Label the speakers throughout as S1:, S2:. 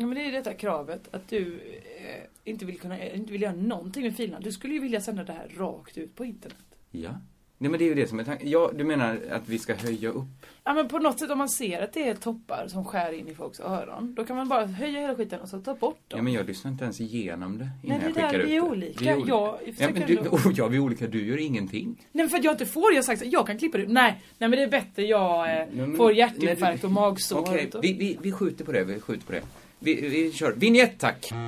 S1: Ja, men det är ju detta kravet att du eh, inte, vill kunna, inte vill göra någonting med filerna. Du skulle ju vilja sända det här rakt ut på internet.
S2: Ja. Nej men det är ju det som är tanken. Ja, du menar att vi ska höja upp?
S1: Ja men på något sätt om man ser att det är toppar som skär in i folks öron. Då kan man bara höja hela skiten och så ta bort dem.
S2: Ja men jag lyssnar inte ens igenom det innan
S1: det
S2: jag
S1: är
S2: skickar
S1: där
S2: ut
S1: vi är
S2: det.
S1: olika.
S2: Vi är olika.
S1: Jag
S2: ja,
S1: försöker
S2: men du,
S1: ändå-
S2: oh, ja, vi är olika. Du gör ingenting.
S1: Nej men för att jag inte får, jag har sagt så, jag kan klippa det. Nej, nej men det är bättre jag eh,
S2: Nej, men-
S1: får
S2: nej,
S1: hjärtinfarkt
S2: du-
S1: och magsår.
S2: Okej,
S1: och...
S2: vi, vi, vi skjuter på det, vi skjuter på det. Vi, vi kör. Vignett tack!
S1: Eh,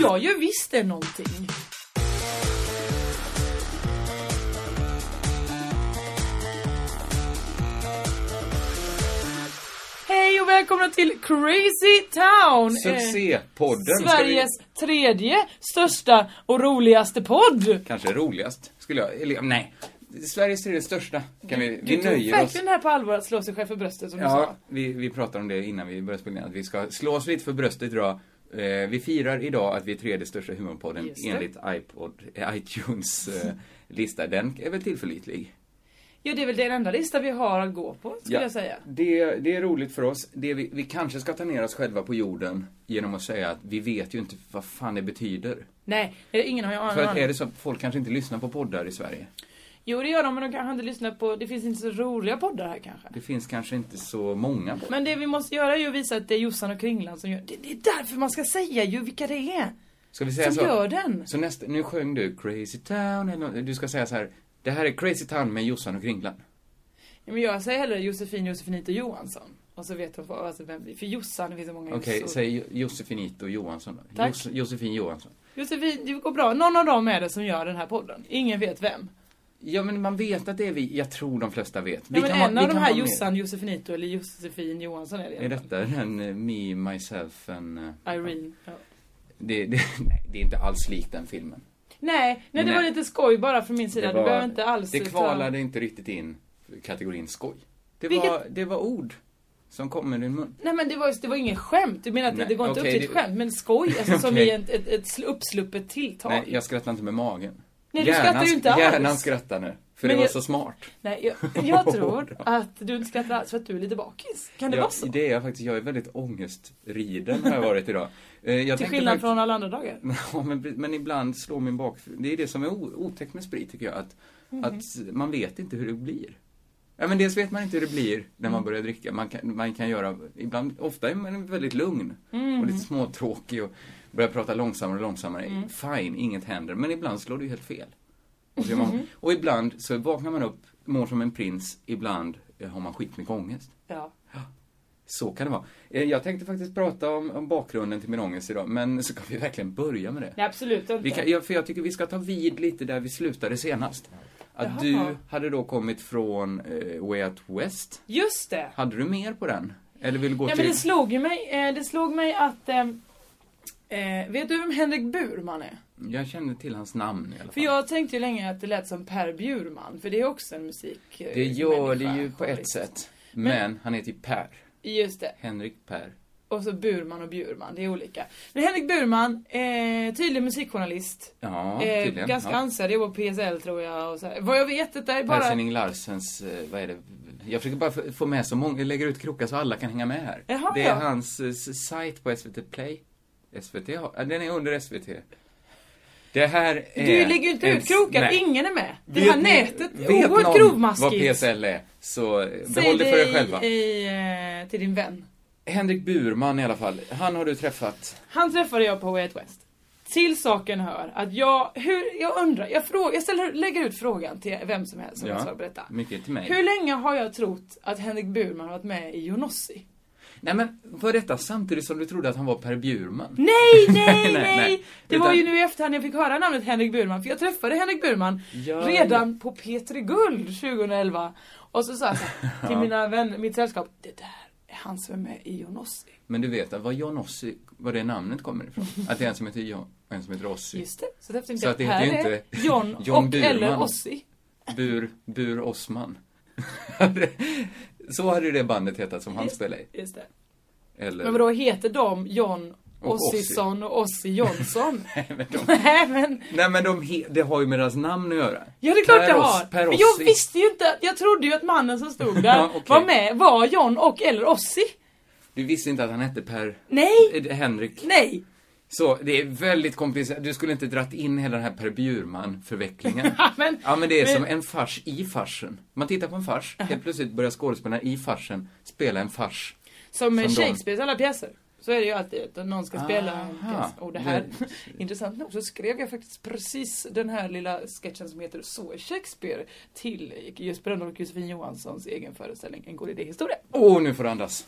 S1: Jag gör visst det någonting. Hej och välkomna till Crazy Town! eh,
S2: Succépodden! ska
S1: Sveriges tredje största och roligaste podd!
S2: Vi, kanske roligast, skulle jag... Eller, nej. Sveriges tredje största. Kan vi, vi
S1: Du tog
S2: nöjer oss.
S1: verkligen det här på allvar att slå sig själv för bröstet som du
S2: Ja,
S1: sa.
S2: vi, vi pratade om det innan vi började spela in, att vi ska slå oss lite för bröstet idag. Eh, vi firar idag att vi är tredje största humorpodden
S1: Just det.
S2: enligt iPod, eh, iTunes eh, lista. Den är väl tillförlitlig?
S1: Ja, det är väl den enda lista vi har att gå på, skulle jag säga.
S2: Det, det är roligt för oss. Det vi, vi kanske ska ta ner oss själva på jorden genom att säga att vi vet ju inte vad fan det betyder.
S1: Nej, eh, ingen har ju
S2: För
S1: aning
S2: att är
S1: om.
S2: det så att folk kanske inte lyssnar på poddar i Sverige?
S1: Jo, det gör de, men de kanske inte lyssnar på... Det finns inte så roliga poddar här kanske.
S2: Det finns kanske inte så många.
S1: Men det vi måste göra är ju att visa att det är Jossan och Kringlan som gör... Det, det är därför man ska säga ju vilka det är.
S2: Ska vi säga
S1: Som
S2: så?
S1: gör den.
S2: Så nästa, nu sjöng du Crazy Town, eller nå- du ska säga så här. Det här är Crazy Town med Jossan och Kringlan.
S1: Ja, men jag säger hellre Josefin, Josefinito Johansson. Och så vet de vad- alltså vem vi... För Jossan, det finns så många
S2: Okej,
S1: Jossor.
S2: säg Jo- Josefinito Johansson då.
S1: Tack.
S2: Jos- Josefin Johansson.
S1: Josefin, det går bra. Någon av dem är det som gör den här podden. Ingen vet vem.
S2: Ja, men man vet att det är vi. Jag tror de flesta vet.
S1: Nej, men en av de här
S2: Jossan...
S1: Jossan, Josefinito eller Josefin Johansson är det.
S2: Är detta den eh, Me, Myself and... eh,
S1: Irene. Ja.
S2: Det, det, nej, det är inte alls likt den filmen.
S1: Nej, nej, det
S2: Nej.
S1: var lite skoj bara från min sida.
S2: Det
S1: Du
S2: var-
S1: behöver inte alls...
S2: Det
S1: ta-
S2: kvalade inte riktigt in kategorin skoj. Det,
S1: Vilket-
S2: var, det var ord som kom ur din mun.
S1: Nej men det var, just- det var inget skämt. Du menar att det-
S2: Nej,
S1: det går inte
S2: okej,
S1: upp till ett
S2: det-
S1: skämt, men skoj. Alltså som
S2: Okej.
S1: i ett, ett, ett sl- uppsluppet tilltal.
S2: Nej, jag skrattar inte med magen.
S1: Nej, du skrattar ju inte alls.
S2: Hjärnan skrattar nu. För
S1: Men
S2: det var
S1: jag-
S2: så smart.
S1: Nej, jag, jag tror att du inte skrattar alls för att du är lite bakis. Kan det
S2: ja,
S1: vara så?
S2: Det är jag faktiskt. Jag är väldigt ångestriden har jag varit idag. Eh, Jag
S1: Till
S2: tänkte
S1: skillnad
S2: faktiskt-
S1: från alla andra dagar.
S2: Ja, men, men ibland slår min bak... Det är det som är o- otäckt med sprit, tycker jag. Att, att man vet inte hur det blir. Ja, men dels vet man inte hur det blir när man börjar dricka. Man kan, man kan göra... Ibland, ofta är man väldigt lugn och lite småtråkig och börjar prata långsammare och långsammare. Fine, inget händer. Men ibland slår det ju helt fel. Och, så gör man, och ibland så vaknar man upp, mår som en prins. Ibland eh, har man skitmycket ångest.
S1: Ja.
S2: Så kan det vara. Eh, Jag tänkte faktiskt prata om, om bakgrunden till min ångest idag, men så kan vi verkligen börja med det.
S1: Nej, absolut inte.
S2: Vi kan, ja, för jag tycker vi ska ta vid lite där vi slutade senast. Att
S1: Jaha.
S2: du hade då kommit från eh, Way Out West.
S1: Just det!
S2: Hade du mer på den? Eller vill du gå
S1: Ja,
S2: till...
S1: men det slog ju mig, eh, det slog mig att... Eh, eh, vet du vem Henrik Burman är?
S2: Jag känner till hans namn i alla fall.
S1: För jag tänkte ju länge att det lät som Per Bjurman, för det är också en musik... eh,
S2: det gör det
S1: människa,
S2: ju på ett
S1: journalist.
S2: sätt. Men,
S1: Men-
S2: han heter ju Per.
S1: Just det.
S2: Henrik Per.
S1: Och så Burman och Bjurman, det är olika. Men Henrik Burman, eh, tydlig musikjournalist.
S2: Ja,
S1: eh,
S2: tydligen.
S1: ganska
S2: ja.
S1: ansedd, jobbar på PSL tror jag och så här. Vad jag vet, detta är bara...
S2: Per Svenning Larsens, eh, vad är det? Jag försöker bara f- få med så många, jag lägger ut krokar så alla kan hänga med här.
S1: Jaha,
S2: det är
S1: ja.
S2: eh, hans eh, s- sajt på SVT Play. SVT har, ja, den är under SVT. Det här är...
S1: Du lägger ju inte
S2: en-
S1: ut krokar,
S2: nej.
S1: ingen är med. Det
S2: Vet
S1: här
S2: ni-
S1: nätet är
S2: vet någon
S1: oerhört
S2: vad
S1: grovmaskigt.
S2: PSL är, så eh,
S1: Säg
S2: behåll det för er
S1: i-
S2: själva.
S1: I, eh, till din vän.
S2: Henrik Burman i alla fall, han har du träffat.
S1: Han träffade jag på Way Out West. Till saken hör att jag, hur, jag undrar, jag, frågar, jag ställer, lägger ut frågan till vem som helst som
S2: Ja. Mm.
S1: ja. svarar på detta.
S2: Mycket till mig.
S1: Hur länge har jag trott att Henrik Burman har varit med i Jonossi?
S2: Nej men, var detta samtidigt som du trodde att han var Per Bjurman?
S1: Nej, nej, nej!
S2: nej, nej.
S1: Det var
S2: Utan-
S1: ju nu i efterhand jag fick höra namnet Henrik Burman, för jag träffade Henrik Burman
S2: Ja,
S1: redan på P3 Guld 2011. Och så sa jag så här, till mina vänner, mitt sällskap, det där är han som är med i Jonossi.
S2: Men du vet att vad John Ossi, var det namnet kommer ifrån? Att det är en som heter John, en som heter Ossi.
S1: Just det, så därför tänkte
S2: Så att det
S1: jag,
S2: heter ju
S1: här är
S2: inte
S1: John,
S2: John
S1: och
S2: Burman.
S1: eller Ossi.
S2: Bur, Bur Osman. Så hade ju det bandet hetat som han spelade i.
S1: Just det. Men
S2: Eller...
S1: vadå, heter de John
S2: Och Ossi.
S1: Ossisson och Ossi Jonsson?
S2: men de-
S1: Nej men,
S2: Nej men de he, det har ju med deras namn att göra.
S1: ja det är klart
S2: Per
S1: det
S2: Oss-
S1: har.
S2: Per
S1: Men
S2: Ossi.
S1: jag visste ju inte, jag trodde ju att mannen som stod där
S2: Ja, okej.
S1: var med var John och eller Ossi.
S2: Du visste inte att han hette Per...
S1: Nej,
S2: eh, Henrik.
S1: nej.
S2: Så det är väldigt komplicerat. Du skulle inte dratt in hela den här Per Bjurman-förvecklingen.
S1: men-
S2: ja, men det är
S1: men-
S2: som en fars i farsen. Man tittar på en fars, helt plötsligt börjar skådespelarna i farsen spela en fars.
S1: Som med
S2: Som de.
S1: Shakespeares alla pjäser. Så är det ju alltid att någon ska spela en
S2: Aha.
S1: pjäs. Och det här,
S2: Det-
S1: intressant nog så skrev jag faktiskt precis den här lilla sketchen som heter Så är Shakespeare till Jesper Rönndahl och Josefin Johanssons egen föreställning En god idéhistoria.
S2: Åh, nu får du andas.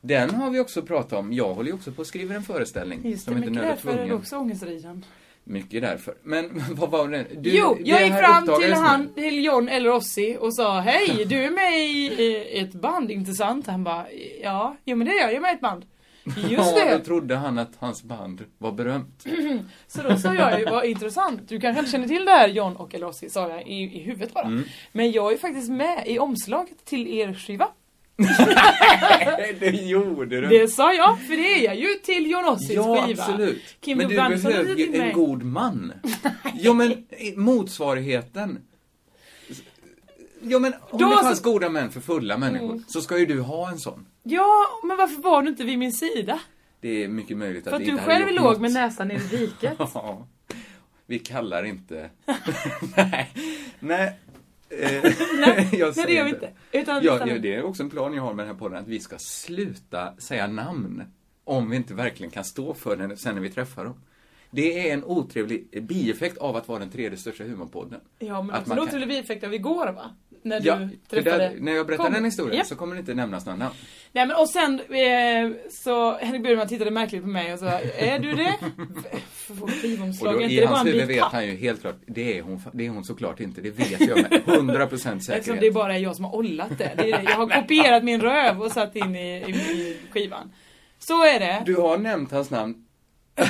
S2: Den har vi också pratat om. Jag håller ju också på och skriver en föreställning.
S1: Just det, mycket
S2: Nödd och
S1: därför är det
S2: Tvungen.
S1: också ångestridande.
S2: Mycket därför. Men vad var det? Du,
S1: jo,
S2: det
S1: jag gick
S2: här
S1: fram till,
S2: uppdagades nu.
S1: han, till John eller Ossi och sa Hej, du är med i eh, ett band, intressant. Han bara Ja, jo men det är jag, jag är med i ett band. Just
S2: Ja,
S1: det.
S2: då trodde han att hans band var berömt.
S1: Så då sa jag ju, vad intressant, du kanske inte känner till det här John och eller Ossi, sa jag i, i huvudet bara. Men jag är faktiskt med i omslaget till er skiva.
S2: Nej, det gjorde du
S1: Det sa jag, för det är jag ju till John Ossis
S2: Ja,
S1: skiva.
S2: absolut.
S1: Kim
S2: men du
S1: Johansson
S2: behöver
S1: hade till
S2: ju en
S1: mig.
S2: god man. jo, men eh, motsvarigheten. Jo, men om
S1: Då
S2: det
S1: så- Mm.
S2: fanns goda män för fulla människor så ska ju du ha en sån.
S1: Ja, men varför var du inte vid min sida?
S2: Det är mycket möjligt att
S1: För att
S2: det
S1: du
S2: inte hade
S1: själv
S2: gjort
S1: låg
S2: något.
S1: med näsan i diket.
S2: Ja. Vi kallar inte... nej. Nej. Eh, jag
S1: Nej,
S2: säger
S1: det gör vi inte. Utan
S2: Ja,
S1: utan-
S2: ja, det är också en plan jag har med den här podden, att vi ska sluta säga namn om vi inte verkligen kan stå för den sen när vi träffar dem. Det är en otrevlig bieffekt av att vara den tredje största humorpodden.
S1: Ja men
S2: Att
S1: också
S2: man
S1: då
S2: kan-
S1: till vi effekt av igår va? När
S2: Ja,
S1: du
S2: det
S1: träffade...
S2: där, när jag berättar
S1: Kom.
S2: den historien
S1: Ja.
S2: så kommer det inte nämnas några namn.
S1: Nej men och sen eh, så Henrik Burman tittade märkligt på mig och sa Är du det? Får
S2: Och
S1: Skivomslag,
S2: då,
S1: är
S2: i
S1: inte det bara
S2: hans
S1: en
S2: huvud
S1: bit
S2: vet
S1: papp?
S2: han ju helt klart, det är hon, fa- det är hon såklart inte, det vet jag med 100% säkerhet.
S1: Eftersom Liksom, det bara är jag som har ollat det. det, är det. Jag har kopierat min röv och satt in i, i, i skivan. Så är det.
S2: Du har nämnt hans namn
S1: Ja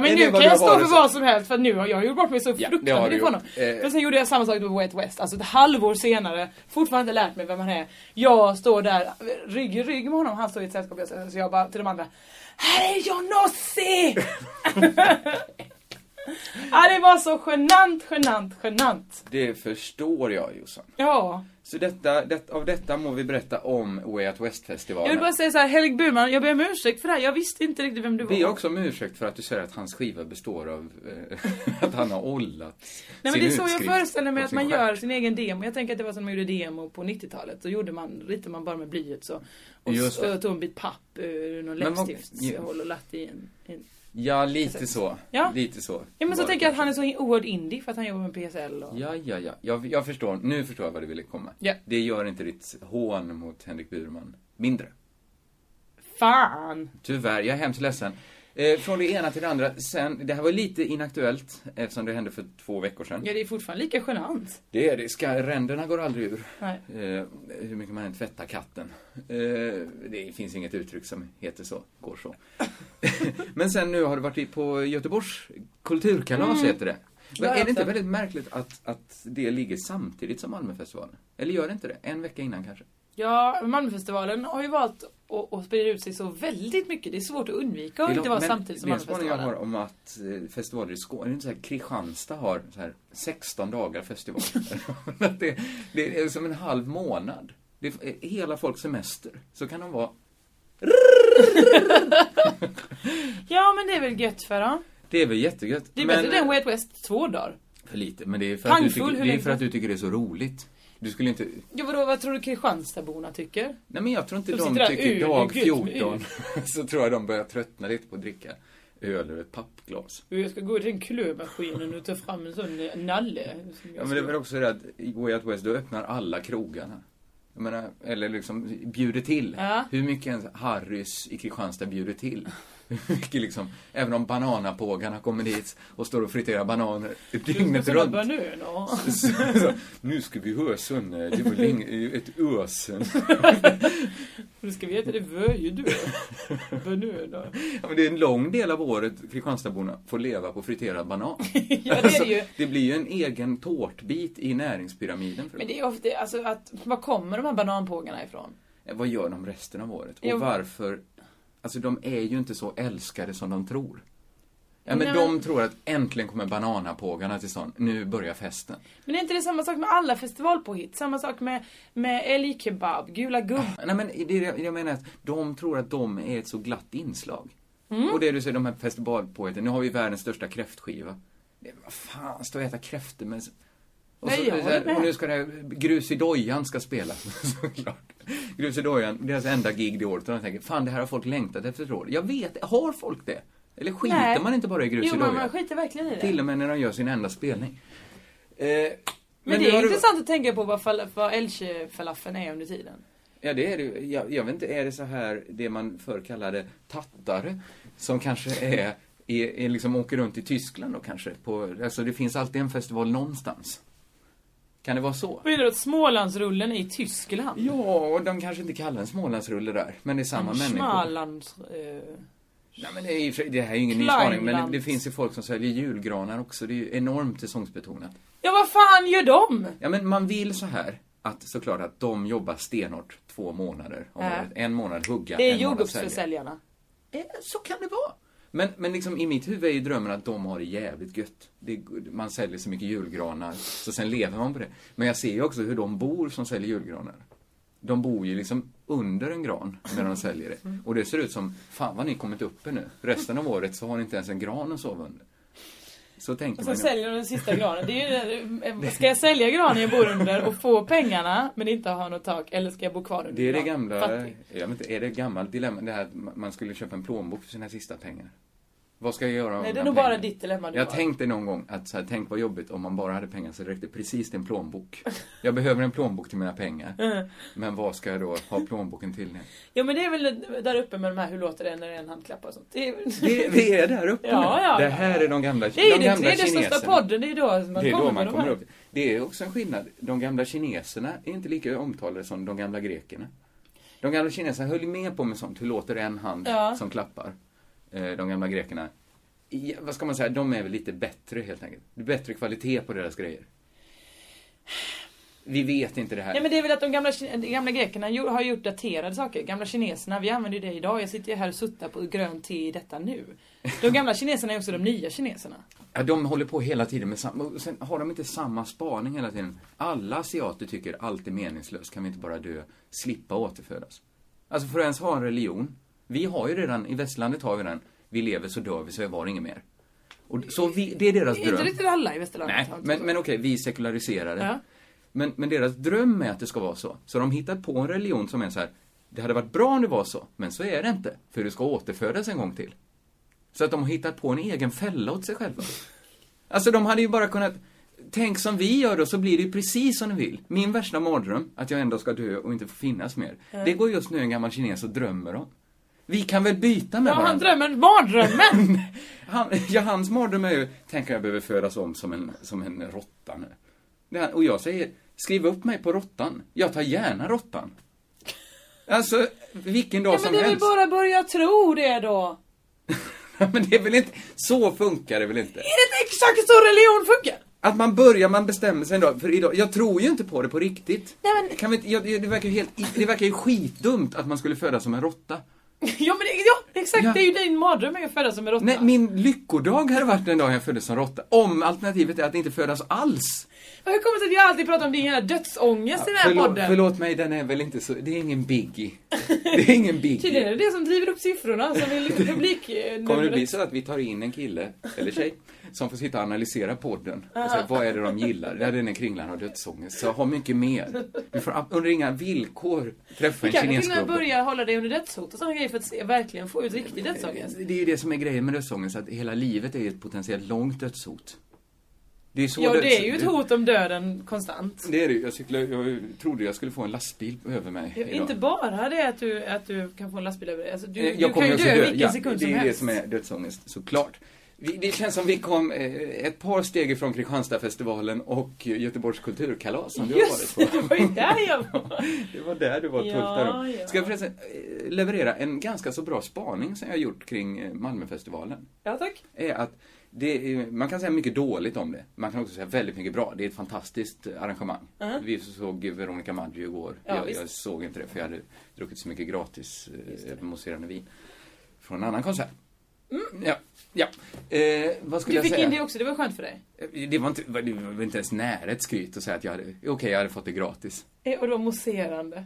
S1: men nu
S2: Är det
S1: kan
S2: vad du
S1: jag stå
S2: har
S1: för
S2: så-
S1: vad som helst för nu har jag gjort bort mig så
S2: det har
S1: fruktansvärt
S2: du
S1: mycket på honom.
S2: gjort. Eh.
S1: Men sen gjorde jag samma sak med Way Out West, alltså ett halvår senare, fortfarande inte lärt mig vem han är. Jag står där rygg i rygg med honom, han står i ett sällskap jag säger- så jag bara till de andra Här är Johnossi! ja det var så genant, genant, genant.
S2: Det förstår jag Jossan.
S1: Ja.
S2: Så detta, det, av detta må vi berätta om Way Out West-festivalen.
S1: Jag vill bara säga så här, Henrik Burman, jag ber om ursäkt för det här, jag visste inte riktigt vem du var.
S2: Be också om ursäkt för att du säger att hans skiva består av eh, att han har ollat
S1: Nej men
S2: sin
S1: det är så jag
S2: utskrift
S1: föreställer mig
S2: av
S1: att
S2: sin
S1: man
S2: stjärt.
S1: gör sin egen demo. Jag tänker att det var som man gjorde demo på 90-talet. Så gjorde man, ritade man bara med blyet så. Och,
S2: Just
S1: s-
S2: det.
S1: och tog en bit papp ur någon
S2: Men vad-
S1: läppstiftshåll och lagt i en, en.
S2: Ja, lite så.
S1: Ja.
S2: Lite så.
S1: Ja men så
S2: Bara-
S1: tänker jag att han är så oerhört indie för att han jobbar med PSL och...
S2: Ja, ja, ja. Jag, jag förstår. Nu förstår jag vad du ville komma.
S1: Ja.
S2: Det gör inte ditt hån mot Henrik Burman mindre.
S1: Fan!
S2: Tyvärr, jag är hemskt ledsen. Eh, från det ena till det andra. Sen, det här var lite inaktuellt eftersom det hände för två veckor sedan.
S1: Ja det är fortfarande lika genant.
S2: Det är det. Ska, ränderna går aldrig ur.
S1: Nej.
S2: Eh, hur mycket man än tvättar katten. Eh, det finns inget uttryck som heter så, går så. Men sen nu har du varit i- på Göteborgs kulturkalas, heter det. Men
S1: Mm. Ja, alltså.
S2: är det inte
S1: absolut.
S2: väldigt märkligt att, att det ligger samtidigt som Malmöfestivalen? Eller gör det inte det? En vecka innan kanske?
S1: Ja, Malmöfestivalen har ju valt att, att sprida ut sig så väldigt mycket. Det är svårt att undvika att
S2: Det är
S1: inte
S2: de-
S1: vara
S2: men
S1: samtidigt som
S2: det är en spaning jag
S1: Malmöfestivalen.
S2: har om att eh, festivaler i Skåne, är det inte så här Kristianstad har så här 16 dagar festival? Att det, det är som en halv månad. Det är eh, hela folks semester. Så kan de vara
S1: Ja men det är väl gött för då.
S2: Det är väl jättegött.
S1: Det är
S2: men,
S1: bättre än Way Out West två dagar.
S2: För lite, men det är för, att du,
S1: Pangfull,
S2: tycker,
S1: hur
S2: det är
S1: länge
S2: för att
S1: som-
S2: du tycker det är så roligt. Du skulle inte...
S1: Ja, vadå, vad tror du Kristianstadborna tycker?
S2: Nej men jag tror inte
S1: De
S2: de
S1: sitter där,
S2: tycker
S1: "Ur,
S2: dag
S1: det är gött med
S2: 14 så tror jag de börjar tröttna lite på att dricka öl ur ett pappglas.
S1: Jo, Jag ska gå till den klömaskinen och ta fram en sån eh, nalle. som jag
S2: Ja men det är
S1: ska-
S2: väl också det att i Way Out West, då öppnar alla krogarna. Jag menar, eller liksom bjuder till.
S1: Ja.
S2: Hur mycket ens Harrys i Kristianstad bjuder till. Hur mycket liksom, även om bananapågarna kommer dit och står och friterar bananer
S1: Med
S2: dygnet
S1: såna
S2: runt.
S1: bananer.
S2: Så, så, nu ska vi ösen, det var länge, ett ösen.
S1: Nu ska vi äta det vöjedö. Bönöda.
S2: Ja, men det är en lång del av året Kristianstadborna får leva på friterad banan. Alltså,
S1: Ja, det är det ju.
S2: det blir ju en egen tårtbit i näringspyramiden. För
S1: Men det är ofta, alltså att, var kommer de här bananpågarna ifrån?
S2: dem. Eh, Vad gör de resten av året? Och
S1: Ja.
S2: varför? Alltså de är ju inte så älskade som de tror. Ja, men
S1: Nej,
S2: de
S1: men-
S2: tror att äntligen kommer bananapågarna till stan. Nu börjar festen.
S1: Men är inte det samma sak med alla festivalpåhitt? Samma sak med, med älgkebab, gula gubbar.
S2: Nej men det jag- jag menar att de tror att de är ett så glatt inslag.
S1: Mm.
S2: Och det du säger, de här festivalpoeterna, nu har vi världens största kräftskiva. Det- Vad fan, stå och äta kräftor med... Och,
S1: Nej,
S2: så,
S1: jag
S2: så
S1: håller
S2: här,
S1: med.
S2: och nu ska det här, Grus i dojan ska spela, såklart. Grus i dojan, deras enda gig det året, och de tänker, fan det här har folk längtat efter ett år. Jag vet, har folk det? Eller skiter
S1: Nej.
S2: man inte bara i Grus
S1: Jo,
S2: i
S1: men
S2: dojan?
S1: man skiter verkligen i det.
S2: Till och med när de gör sin enda spelning. Eh, men
S1: Men,
S2: nu
S1: det är
S2: har du-
S1: intressant att tänka på vad, fal- vad älgfalafeln är under tiden.
S2: Ja, det är det ju. jag, jag vet inte, är det så här det man förr kallade tattare? Som kanske är, är, är liksom åker runt i Tyskland då kanske? På, alltså det finns alltid en festival någonstans. Kan det vara så?
S1: Menar du att Smålandsrullen är i Tyskland?
S2: Ja, och de kanske inte kallar en Smålandsrulle där, men det är samma människor.
S1: Smålands... Eh,
S2: Nej, men det, är, i och för sig- det här är ju ingen ny spaning, men det
S1: Kleinlands.
S2: finns ju folk som säljer julgranar också. Det är ju enormt säsongsbetonat.
S1: ja, vad fan gör de?
S2: Ja, men man vill så här att såklart att de jobbar stenhårt två månader om
S1: Ja.
S2: året. En månad hugga,
S1: Det är
S2: en månad sälja.
S1: jordgubbsförsäljarna.
S2: Eh, Så kan det vara. Men, men liksom, i mitt huvud är ju drömmen att de har det jävligt gött. Det, man säljer så mycket julgranar, så sen lever man på det. Men jag ser ju också hur de bor som säljer julgranar. De bor ju liksom under en gran när de säljer det. Och det ser ut som, fan vad ni kommit upp er nu. Resten av året så har ni inte ens en gran att sova under. Så tänker
S1: Och
S2: man
S1: så
S2: ju.
S1: säljer de den sista granen. Det är ju, eh, ska jag sälja granen jag bor under och få pengarna men inte ha något tak? Eller ska jag bo kvar under
S2: Det är det
S1: granen?
S2: gamla,
S1: Fattig.
S2: jag vet inte, är det gammalt dilemma? Det här att ma- man skulle köpa en plånbok för sina sista pengar. Vad ska jag göra av
S1: Nej, det
S2: mina
S1: är nog bara
S2: pengar?
S1: ditt dilemma du
S2: Jag
S1: har.
S2: tänkte någon gång att så här, tänk vad jobbigt om man bara hade pengar så det räckte precis till en plånbok. Jag behöver en plånbok till mina pengar. Men vad ska jag då ha plånboken till? nu?
S1: Ja men det är väl där uppe med de här hur låter det när det är en handklapp och sånt. Det är,
S2: Vi, vi är där uppe
S1: Ja,
S2: nu.
S1: ja,
S2: Det
S1: ja,
S2: här
S1: ja.
S2: är de gamla,
S1: det är
S2: de
S1: ju den
S2: gamla
S1: tredje
S2: kineserna.
S1: största podden, det är ju då man
S2: det är
S1: Alltså, kommer
S2: då man
S1: med
S2: kommer
S1: de här.
S2: upp. Det är också en skillnad. De gamla kineserna är inte lika omtalade som de gamla grekerna. De gamla kineserna höll ju med på med sånt. Hur låter en hand
S1: Ja.
S2: som klappar? Eh, De gamla grekerna. i- Vad ska man säga? De är väl lite bättre helt enkelt. Det är Bättre kvalitet på deras grejer. Vi vet inte det här.
S1: Nej men det är väl att de gamla, kine- de gamla grekerna ju- har gjort daterade saker. Gamla kineserna, vi använder ju det idag. Jag sitter ju här och suttar på grönt te i detta nu. De gamla kineserna är också de nya kineserna.
S2: Ja, de håller på hela tiden med samma... och Sen har de inte samma spaning hela tiden. Alla asiater tycker allt är meningslöst. Kan vi inte bara dö? Slippa återfödas. Alltså för att ens ha en religion. Vi har ju redan, i västlandet har vi den. Vi lever så dör vi så är var inget mer. Och så vi, det är deras
S1: Inte
S2: dröm.
S1: riktigt alla i västerlandet.
S2: Nej,
S1: har inte
S2: men,
S1: alltså så.
S2: men okej, vi sekulariserade.
S1: Ja.
S2: Men, men deras dröm är att det ska vara så. Så de hittar på en religion som är så här. Det hade varit bra om det var så, men så är det inte. För du ska återfödas en gång till. Så att de har hittat på en egen fälla åt sig själva. Alltså de hade ju bara kunnat, tänk som vi gör då så blir det ju precis som du vill. Min värsta mardröm, att jag ändå ska dö och inte få finnas mer. Det går just nu en gammal kines och drömmer om. Vi kan väl byta med
S1: Ja, han
S2: varandra?
S1: drömmer, mardrömmen!
S2: Han, ja, hans mardröm är ju, tänk om jag behöver födas om som en, som en råtta nu. Det här, och jag säger, skriv upp mig på råttan. Jag tar gärna råttan. Alltså, vilken
S1: Ja,
S2: dag
S1: men
S2: som
S1: det är väl
S2: helst.
S1: bara börja tro det då.
S2: men det är väl inte, så funkar det väl inte?
S1: Är det inte exakt så religion funkar?
S2: Att man börjar, man bestämmer sig en dag, för idag, jag tror ju inte på det på riktigt.
S1: Nej, men-
S2: Kan vi, inte- jag, det, verkar ju helt, det verkar ju skitdumt att man skulle födas som en råtta.
S1: Ja men det, ja, Exakt,
S2: Ja.
S1: det är ju din mardröm att födas som en råtta.
S2: Nej, min lyckodag hade varit den dagen jag föddes som råtta. Om alternativet är att inte födas alls.
S1: Men Hur kommer det sig att jag alltid pratar om din jävla dödsångest i den här
S2: Förlåt,
S1: podden?
S2: förlåt mig, den är väl inte så... Det är ingen biggie. Det är ingen
S1: Tydligen är
S2: biggie.
S1: det det som driver upp siffrorna, som vill publik...
S2: Kommer det bli så att vi tar in en kille, eller tjej, som får sitta och analysera podden och säga vad är det de gillar? Det är den är kringlan och dödsångest. Så ha mycket mer. Du får ab- under inga villkor träffa
S1: Vi
S2: en
S1: kanske till och med
S2: kinesgubbe.
S1: börjar hålla dig under dödshot och sådana grejer för att se, verkligen få ut riktig dödsångest.
S2: Det är ju det som är grejen med dödsångest, att hela livet är ju ett potentiellt långt dödshot. Det är så
S1: Ja, det är
S2: döds-
S1: ju ett hot om döden konstant.
S2: Det är det ju. jag, cyklade, jag trodde jag skulle få en lastbil över mig
S1: Ja,
S2: idag.
S1: Inte bara det att du, att du kan få en lastbil över dig. Alltså, du,
S2: Eh,
S1: du kan ju
S2: också
S1: dö vilken
S2: Ja,
S1: sekund
S2: det
S1: som
S2: är det
S1: helst.
S2: som är dödsångest, såklart. Vi, det känns som vi kom eh, ett par steg ifrån Kristianstadfestivalen och Göteborgs kulturkalas som du har varit
S1: Just det,
S2: på.
S1: det var ju där jag var.
S2: Det var där du var
S1: Ja,
S2: tultare.
S1: ja.
S2: Ska jag förresten eh, leverera en ganska så bra spaning som jag har gjort kring eh, Malmöfestivalen?
S1: Ja, tack.
S2: är att det är, man kan säga mycket dåligt om det. Man kan också säga väldigt mycket bra. Det är ett fantastiskt eh, arrangemang. Vi såg ju Veronica Maggio igår.
S1: Ja,
S2: jag,
S1: visst.
S2: jag såg inte det för jag hade druckit så mycket gratis eh, mousserande vin. Från en annan konsert. Ja, ja. Eh, vad skulle
S1: Mm. Du
S2: jag
S1: fick
S2: säga? Eh,
S1: in det också, det var skönt för dig.
S2: Det var, inte, det var inte ens nära ett skryt att säga att jag hade, okej jag hade fått det gratis.
S1: Eh, Och det var mousserande.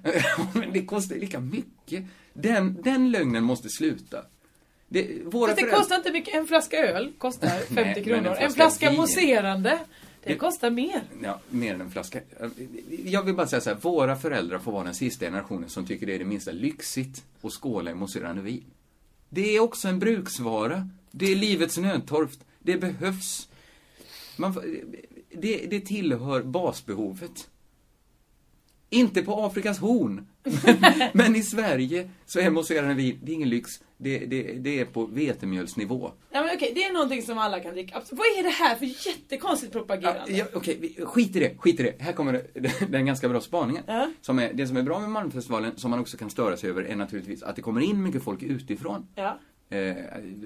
S2: Men det kostar ju lika mycket. Den, den lögnen måste sluta. Det, våra
S1: Fast det
S2: föräldrar-
S1: kostar inte mycket. En flaska öl kostar 50
S2: Nej, men en
S1: kronor.
S2: flaska
S1: En flaska
S2: vin.
S1: mousserande, det
S2: Det-
S1: kostar mer.
S2: Ja, mer än en flaska. Eh, Jag vill bara säga så här, våra föräldrar får vara den sista generationen som tycker det är det minsta lyxigt att skåla i mousserande vin. Det är också en bruksvara. Det är livets nödtorft. Det behövs. Man, får- det, det tillhör basbehovet. Inte på Afrikas horn, men i Sverige så är mousserande vin, det är ingen lyx. Det, det, det är på vetemjölsnivå.
S1: Nej men okej, det är någonting som alla kan dricka. Absolut. Vad är det här för jättekonstigt
S2: Ja,
S1: propagerande?
S2: ja, Okej, vi- skit i det, skit i det. Här kommer det- den ganska bra spaningen.
S1: Ja.
S2: Som är, det som är bra med Malmöfestivalen, som man också kan störa sig över, är naturligtvis att det kommer in mycket folk utifrån.
S1: Ja.
S2: Eh,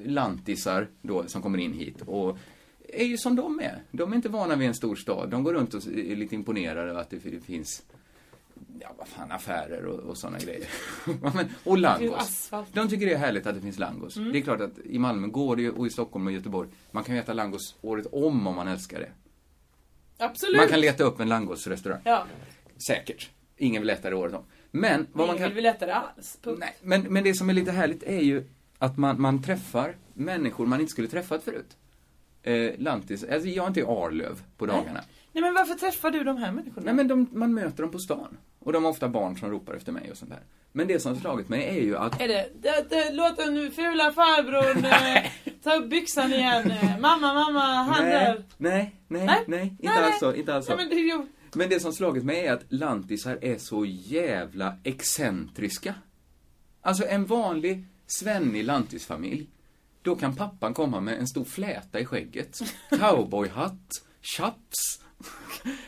S2: lantisar då, som kommer in hit och är ju som de är. De är inte vana vid en stor stad. De går runt och är lite imponerade över att det fi- finns Ja, vad fan, affärer och, och sådana grejer. Ja, men,
S1: Det är
S2: och langos.
S1: asfalt. Mm.
S2: De tycker det är härligt att det finns langos. Det är klart att i Malmö går det ju, och i Stockholm och Göteborg, man kan ju äta langos året om om man älskar det.
S1: Absolut!
S2: Man kan leta upp en langosrestaurang.
S1: Ja,
S2: Säkert. Ingen vill äta det året om. Men vad
S1: det
S2: man
S1: är
S2: kan...
S1: väl lättare alls. Punkt.
S2: Nej, men, men det som är lite härligt är ju att man, man träffar människor man inte skulle träffat förut. Eh, lantis, alltså jag är inte i Arlöv på dagarna. Nej,
S1: Nej men varför träffar du de här människorna?
S2: men de, man möter dem på stan. Och de har ofta barn som ropar efter mig och sånt där. Men det som slagit mig är ju att
S1: Är det, det, det, låt den fula farbrorn eh, ta upp byxan igen. eh, Mamma, mamma, han
S2: Nej,
S1: där.
S2: nej, nej,
S1: Nej,
S2: nej, inte
S1: nej,
S2: alls så, inte alls så.
S1: Nej men det är ju...
S2: Men det som slagit mig är att lantisar är så jävla excentriska. Alltså en vanlig svennig lantisfamilj, då kan pappan komma med en stor fläta i skägget, cowboyhatt, chaps.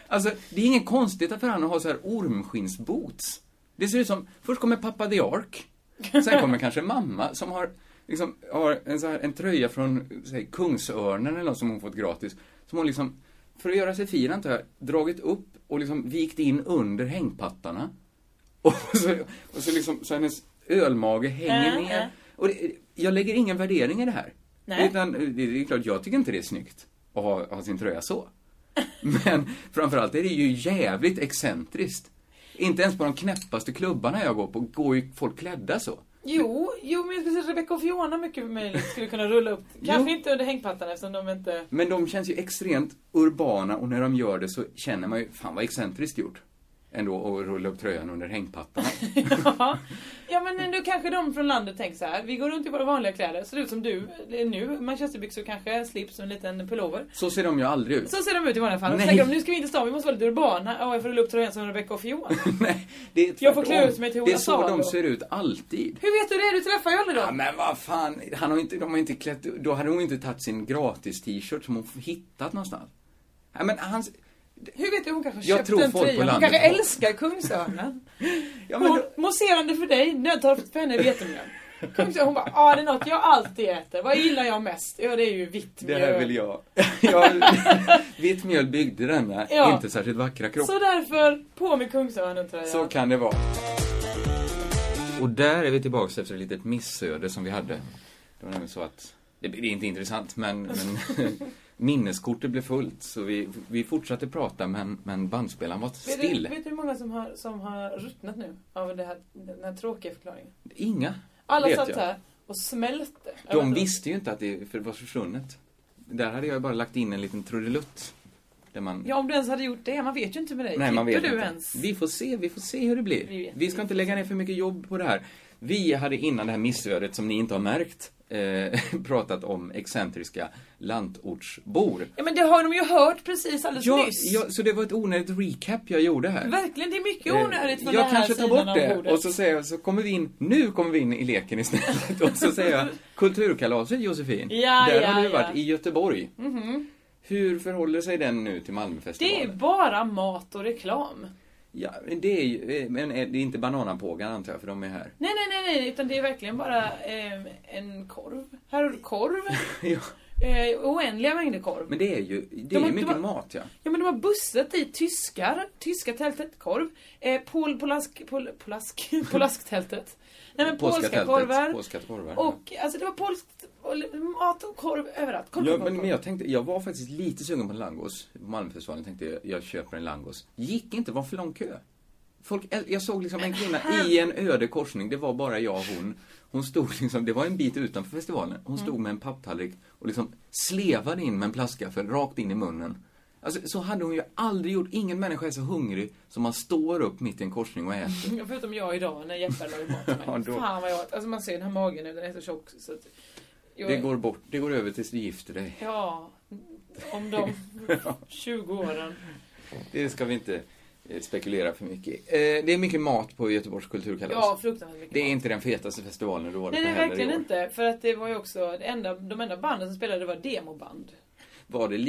S2: Alltså, det är inget konstigt för han att ha så här ormskinnsboots. Det ser ut som, först kommer pappa The Ark, sen kommer kanske mamma som har, liksom, har en, så här, en tröja från, säg, Kungsörnen eller något som hon fått gratis, som hon liksom, för att göra sig fin antar jag, dragit upp och liksom vikt in under hängpattarna. Och så, och så liksom, så hennes ölmage hänger
S1: Äh, äh.
S2: ner. Och det, jag lägger ingen värdering i det här.
S1: Nej.
S2: Utan eh, det, det är klart, jag tycker inte det är snyggt att ha, ha sin tröja så. Men framförallt är det ju jävligt excentriskt. Inte ens på de knäppaste klubbarna jag går på går ju folk klädda så.
S1: Jo, jo men jag skulle säga att Rebecca och Fiona mycket möjligt skulle kunna rulla upp. Kanske inte under hängpattarna eftersom de inte...
S2: Men de känns ju extremt urbana och när de gör det så känner man ju, fan vad excentriskt gjort. Ändå att rulla upp tröjan under hängpattarna.
S1: Ja. ja men ändå kanske de från landet tänker så här. Vi går runt i våra vanliga kläder, ser ut som du eh, nu. Manchesterbyxor kanske, slips och en liten pullover.
S2: Så ser de ju aldrig ut.
S1: Så ser de ut i vanliga fall. Och så
S2: Nej.
S1: tänker de, nu ska vi inte stan, vi måste vara lite urbana. Ja, jag får rulla upp tröjan som Rebecca och Fiona.
S2: Nej, det är
S1: Jag får klä
S2: tvärtom.
S1: ut mig till
S2: Det är
S1: Ola
S2: så
S1: Salo.
S2: de ser ut alltid.
S1: Hur vet du det? Du träffar ju aldrig
S2: Ja,
S1: dem.
S2: men vad fan, han har inte, de har inte klätt, då hade hon inte tagit sin gratis t-shirt som hon hittat någonstans. Ja, men hans,
S1: Hur vet du? Hon kanske
S2: Jag
S1: köpte
S2: tror
S1: en
S2: folk på
S1: tröja. Hon
S2: landet
S1: kanske
S2: har-
S1: älskar Kungsörnen.
S2: ja, men
S1: Hon, mousserande för dig, nödtorftigt för henne, vetemjöl. Kungsörnen, hon bara, ja det är något jag alltid äter. Vad gillar jag mest? Ja det är ju vitt
S2: Det
S1: mjöl.
S2: här vill jag. jag vitt mjöl byggde denna
S1: Ja.
S2: inte särskilt vackra kropp.
S1: Så därför, på med Kungsörnen tröjan.
S2: Så kan det vara. Och där är vi tillbaka efter ett litet missöde som vi hade. Det var nämligen så att, det det är inte intressant men, men minneskortet blev fullt så vi, vi fortsatte prata men, men bandspelaren var
S1: Vet
S2: still.
S1: du, vet du hur många som har, som har ruttnat nu av det här, den här tråkiga förklaringen?
S2: Inga
S1: Alla
S2: vet
S1: satt
S2: jag.
S1: här och smälte. över
S2: De
S1: att-
S2: visste ju inte att det för- var försvunnet. Där hade jag bara lagt in en liten trudelutt. Där man...
S1: Ja, om du ens hade gjort det. Man vet ju inte med dig.
S2: Nej, man vet
S1: Klipper du
S2: inte.
S1: ens?
S2: Vi får se, vi får se hur
S1: Vi
S2: det blir.
S1: vet
S2: Vi ska inte lägga ner för mycket jobb på det här. Vi hade innan det här missödet, som ni inte har märkt, eh, pratat om excentriska lantortsbor.
S1: Ja, men det har de ju hört precis alldeles
S2: Ja,
S1: Alltså, nyss.
S2: ja, så det var ett onödigt recap jag gjorde här.
S1: Verkligen, det är mycket
S2: Eh,
S1: onödigt från den
S2: Jag
S1: här
S2: kanske tar
S1: sidan
S2: bort
S1: av
S2: det
S1: bordet.
S2: och så säger jag, så kommer vi in, nu kommer vi in i leken istället. Och så säger jag, kulturkalaset Josefin,
S1: Ja,
S2: där
S1: ja,
S2: har
S1: ja.
S2: du
S1: Mhm.
S2: varit i Göteborg. Hur förhåller sig den nu till Malmöfestivalen?
S1: Det är bara mat och reklam.
S2: Ja, men det är ju, eh, men är det är inte bananapågar antar jag, för de är här.
S1: Nej, nej, nej, nej, utan det är verkligen bara ehm, en korv. Här har du korv.
S2: ja.
S1: Eh, oändliga mängder korv.
S2: Men det är ju, det
S1: De
S2: är
S1: har-
S2: ju
S1: de
S2: mycket
S1: har-
S2: mat ja.
S1: Ja men de har bussat dit tyskar, tyska tältet, korv, eh, pol, polask, pol, polask, polasktältet. Nej men
S2: Polska
S1: polska
S2: tältet,
S1: korvar.
S2: polska korvar, ja.
S1: Och alltså det var polskt, och mat och korv överallt. Korv,
S2: Ja,
S1: korv,
S2: men,
S1: korv.
S2: men jag tänkte, jag var faktiskt lite sugen på en langos på Malmöfestivalen. Tänkte jag, jag köper en langos. Gick inte, var för lång kö. Folk, äl- jag såg liksom en kvinna i en öde korsning, det var bara jag och hon. Hon stod liksom, det var en bit utanför festivalen, hon stod med en papptallrik och liksom slevade in med en plastgaffel rakt in i munnen. Alltså, så hade hon ju aldrig gjort. Ingen människa är så hungrig som man står upp mitt i en korsning och äter.
S1: Ja, Förutom jag idag när Jeppe lagade mat till mig.
S2: Ja, då.
S1: Fan vad jag Alltså man ser den här magen nu, den är så tjock. Så att jag,
S2: Det går bort, det går över tills du gifter dig.
S1: Ja, om de 20 åren.
S2: Det ska vi inte eh, spekulera för mycket i. Eh, Det är mycket mat på Göteborgs kulturkalas.
S1: Ja, fruktansvärt mycket
S2: det är
S1: mat.
S2: inte den fetaste festivalen du varit
S1: Nej det är
S2: på heller
S1: verkligen
S2: i år.
S1: inte. För att det var ju också, det enda, de enda banden som spelade var demoband.
S2: Var det li-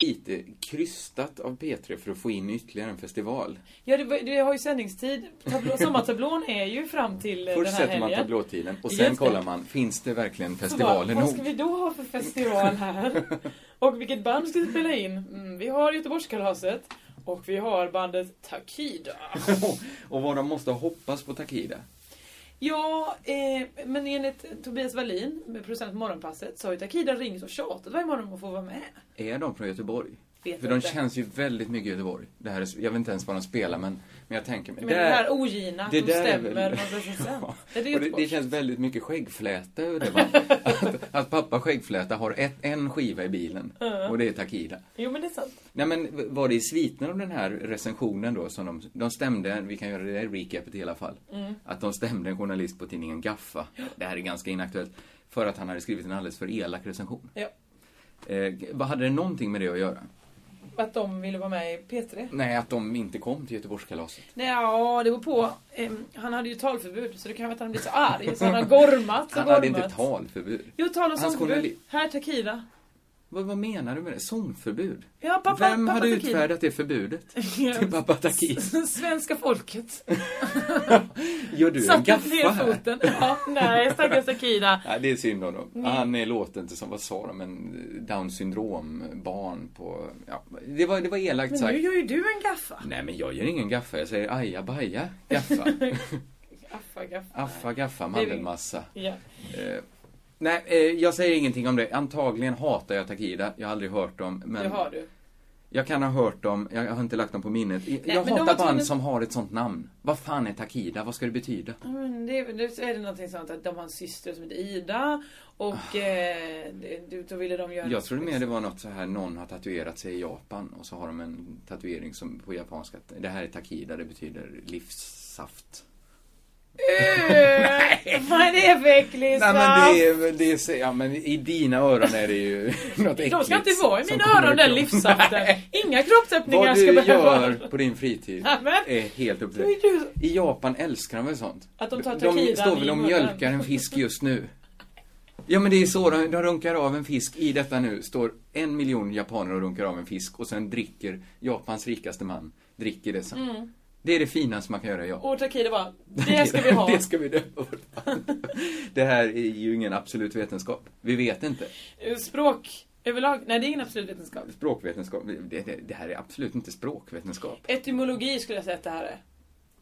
S2: lite krystat av P3 för att få in ytterligare en festival?
S1: Ja, det, var- det har ju sändningstid. Tablå, sommartablån är ju fram till eh, den
S2: Först
S1: här
S2: sätter man
S1: helgen.
S2: tablåtiden och
S1: Just
S2: sen
S1: det.
S2: kollar man, finns det verkligen
S1: Så bara,
S2: festivaler
S1: vad ska
S2: nog?
S1: vi då ha för festival här? Och vilket band ska vi spela in? Mm, vi har Göteborgskalaset och vi har bandet Takida.
S2: och vad de måste hoppas på Takida.
S1: Ja, eh, men enligt Tobias Wallin, med producent på Morgonpasset, så har ju Takida ringt och tjatat varje morgon om att få vara med.
S2: Är de från Göteborg?
S1: Vet
S2: för de
S1: inte.
S2: känns ju väldigt mycket Göteborg. Det här är, s- jag vet inte ens vad de spelar men, men jag tänker mig.
S1: Men det här ogina, att
S2: Det
S1: de
S2: där är
S1: stämmer
S2: väl-
S1: någonstans och sen.
S2: Ja.
S1: Är det
S2: Och det,
S1: Göteborg?
S2: det känns väldigt mycket skäggfläta över det. va? att, att pappa skäggfläta har ett, en skiva i bilen och det är Takida.
S1: Jo, men det är sant.
S2: Nej men v- var det i sviten av den här recensionen då som de, de stämde, vi kan göra det där recapet i alla fall.
S1: Mm.
S2: Att de stämde en journalist på tidningen Gaffa, det här är ganska inaktuellt, för att han hade skrivit en alldeles för elak recension.
S1: Ja.
S2: Eh, vad hade det någonting med det att göra?
S1: Att de ville vara med i P3.
S2: Nej, att de inte kom till Göteborgskalaset.
S1: Nej, ja, det beror på. Em, Han hade ju talförbud, så det kan vara att han blev så arg så han har gormat och
S2: Han
S1: gormat.
S2: hade inte talförbud.
S1: Jo, tal och
S2: Hans
S1: sångförbud.
S2: journali-
S1: Här, Takida.
S2: Vad, vad menar du med det? Sångförbud?
S1: Ja, pappa,
S2: Vem
S1: pappa
S2: hade
S1: Takida.
S2: utfärdat det förbudet? Till
S1: Ja.
S2: pappa Taki.
S1: Svenska folket.
S2: Gör du en
S1: Satte
S2: gaffa
S1: ner
S2: här?
S1: foten. Ja, nej, stackars Takida.
S2: Nej, det är synd om dem. Han är låten till, som, vad sa de, en down syndrom barn på, ja, det var, det var elakt
S1: Men
S2: sagt.
S1: nu gör ju du en gaffa.
S2: Nej men jag gör ingen gaffa, jag säger aja baja gaffa.
S1: Gaffa, gaffa.
S2: Affa gaffa mandelmassa.
S1: Ja.
S2: Eh, nej, eh, jag säger ingenting om det. Antagligen hatar jag Takida, jag har aldrig hört dem. Men
S1: Det har du.
S2: Jag kan ha hört dem, jag har inte lagt dem på minnet. Jag
S1: men de
S2: hatar
S1: var
S2: band
S1: tvungna-
S2: som har ett sånt namn. Vad fan är Takida? Vad ska det betyda?
S1: Ja, Men det, är- det är det någonting sånt att de har en syster som heter Ida och eh, det- då ville de göra
S2: Ah. Jag trodde mer det var något så här, någon har tatuerat sig i Japan och så har de en tatuering som på japanska, det här är Takida, det betyder livssaft.
S1: Nej! Vad är det för äcklig
S2: Nej
S1: saft?
S2: men det är, det är, så- ja, men i dina öron är det ju något äckligt.
S1: De ska inte vara i
S2: som
S1: mina
S2: kommer
S1: öron den
S2: ifrån.
S1: livssaften.
S2: Nej.
S1: Inga kroppsöppningar
S2: Vad
S1: ska
S2: du
S1: behöva.
S2: gör på din fritid
S1: Nej, men-
S2: är helt upp till
S1: Då är
S2: dig.
S1: du-
S2: I Japan älskar de väl sånt?
S1: Att de tar
S2: De
S1: takidan
S2: står väl
S1: i
S2: och
S1: munnen.
S2: mjölkar en fisk just nu. Ja men det är så, de, de runkar av en fisk i detta nu. Står en miljon japaner och runkar av en fisk och sen dricker Japans rikaste man, dricker det sen. Det är det finaste man kan göra i Japan.
S1: Mm. Och Takida bara, det ska vi ha.
S2: det ska vi döpa vårt land. Det här är ju ingen absolut vetenskap. Vi vet inte.
S1: Språk överlag, nej det är ingen absolut vetenskap.
S2: Språkvetenskap, det, det, det här är absolut inte språkvetenskap.
S1: Etymologi skulle jag säga att det här är.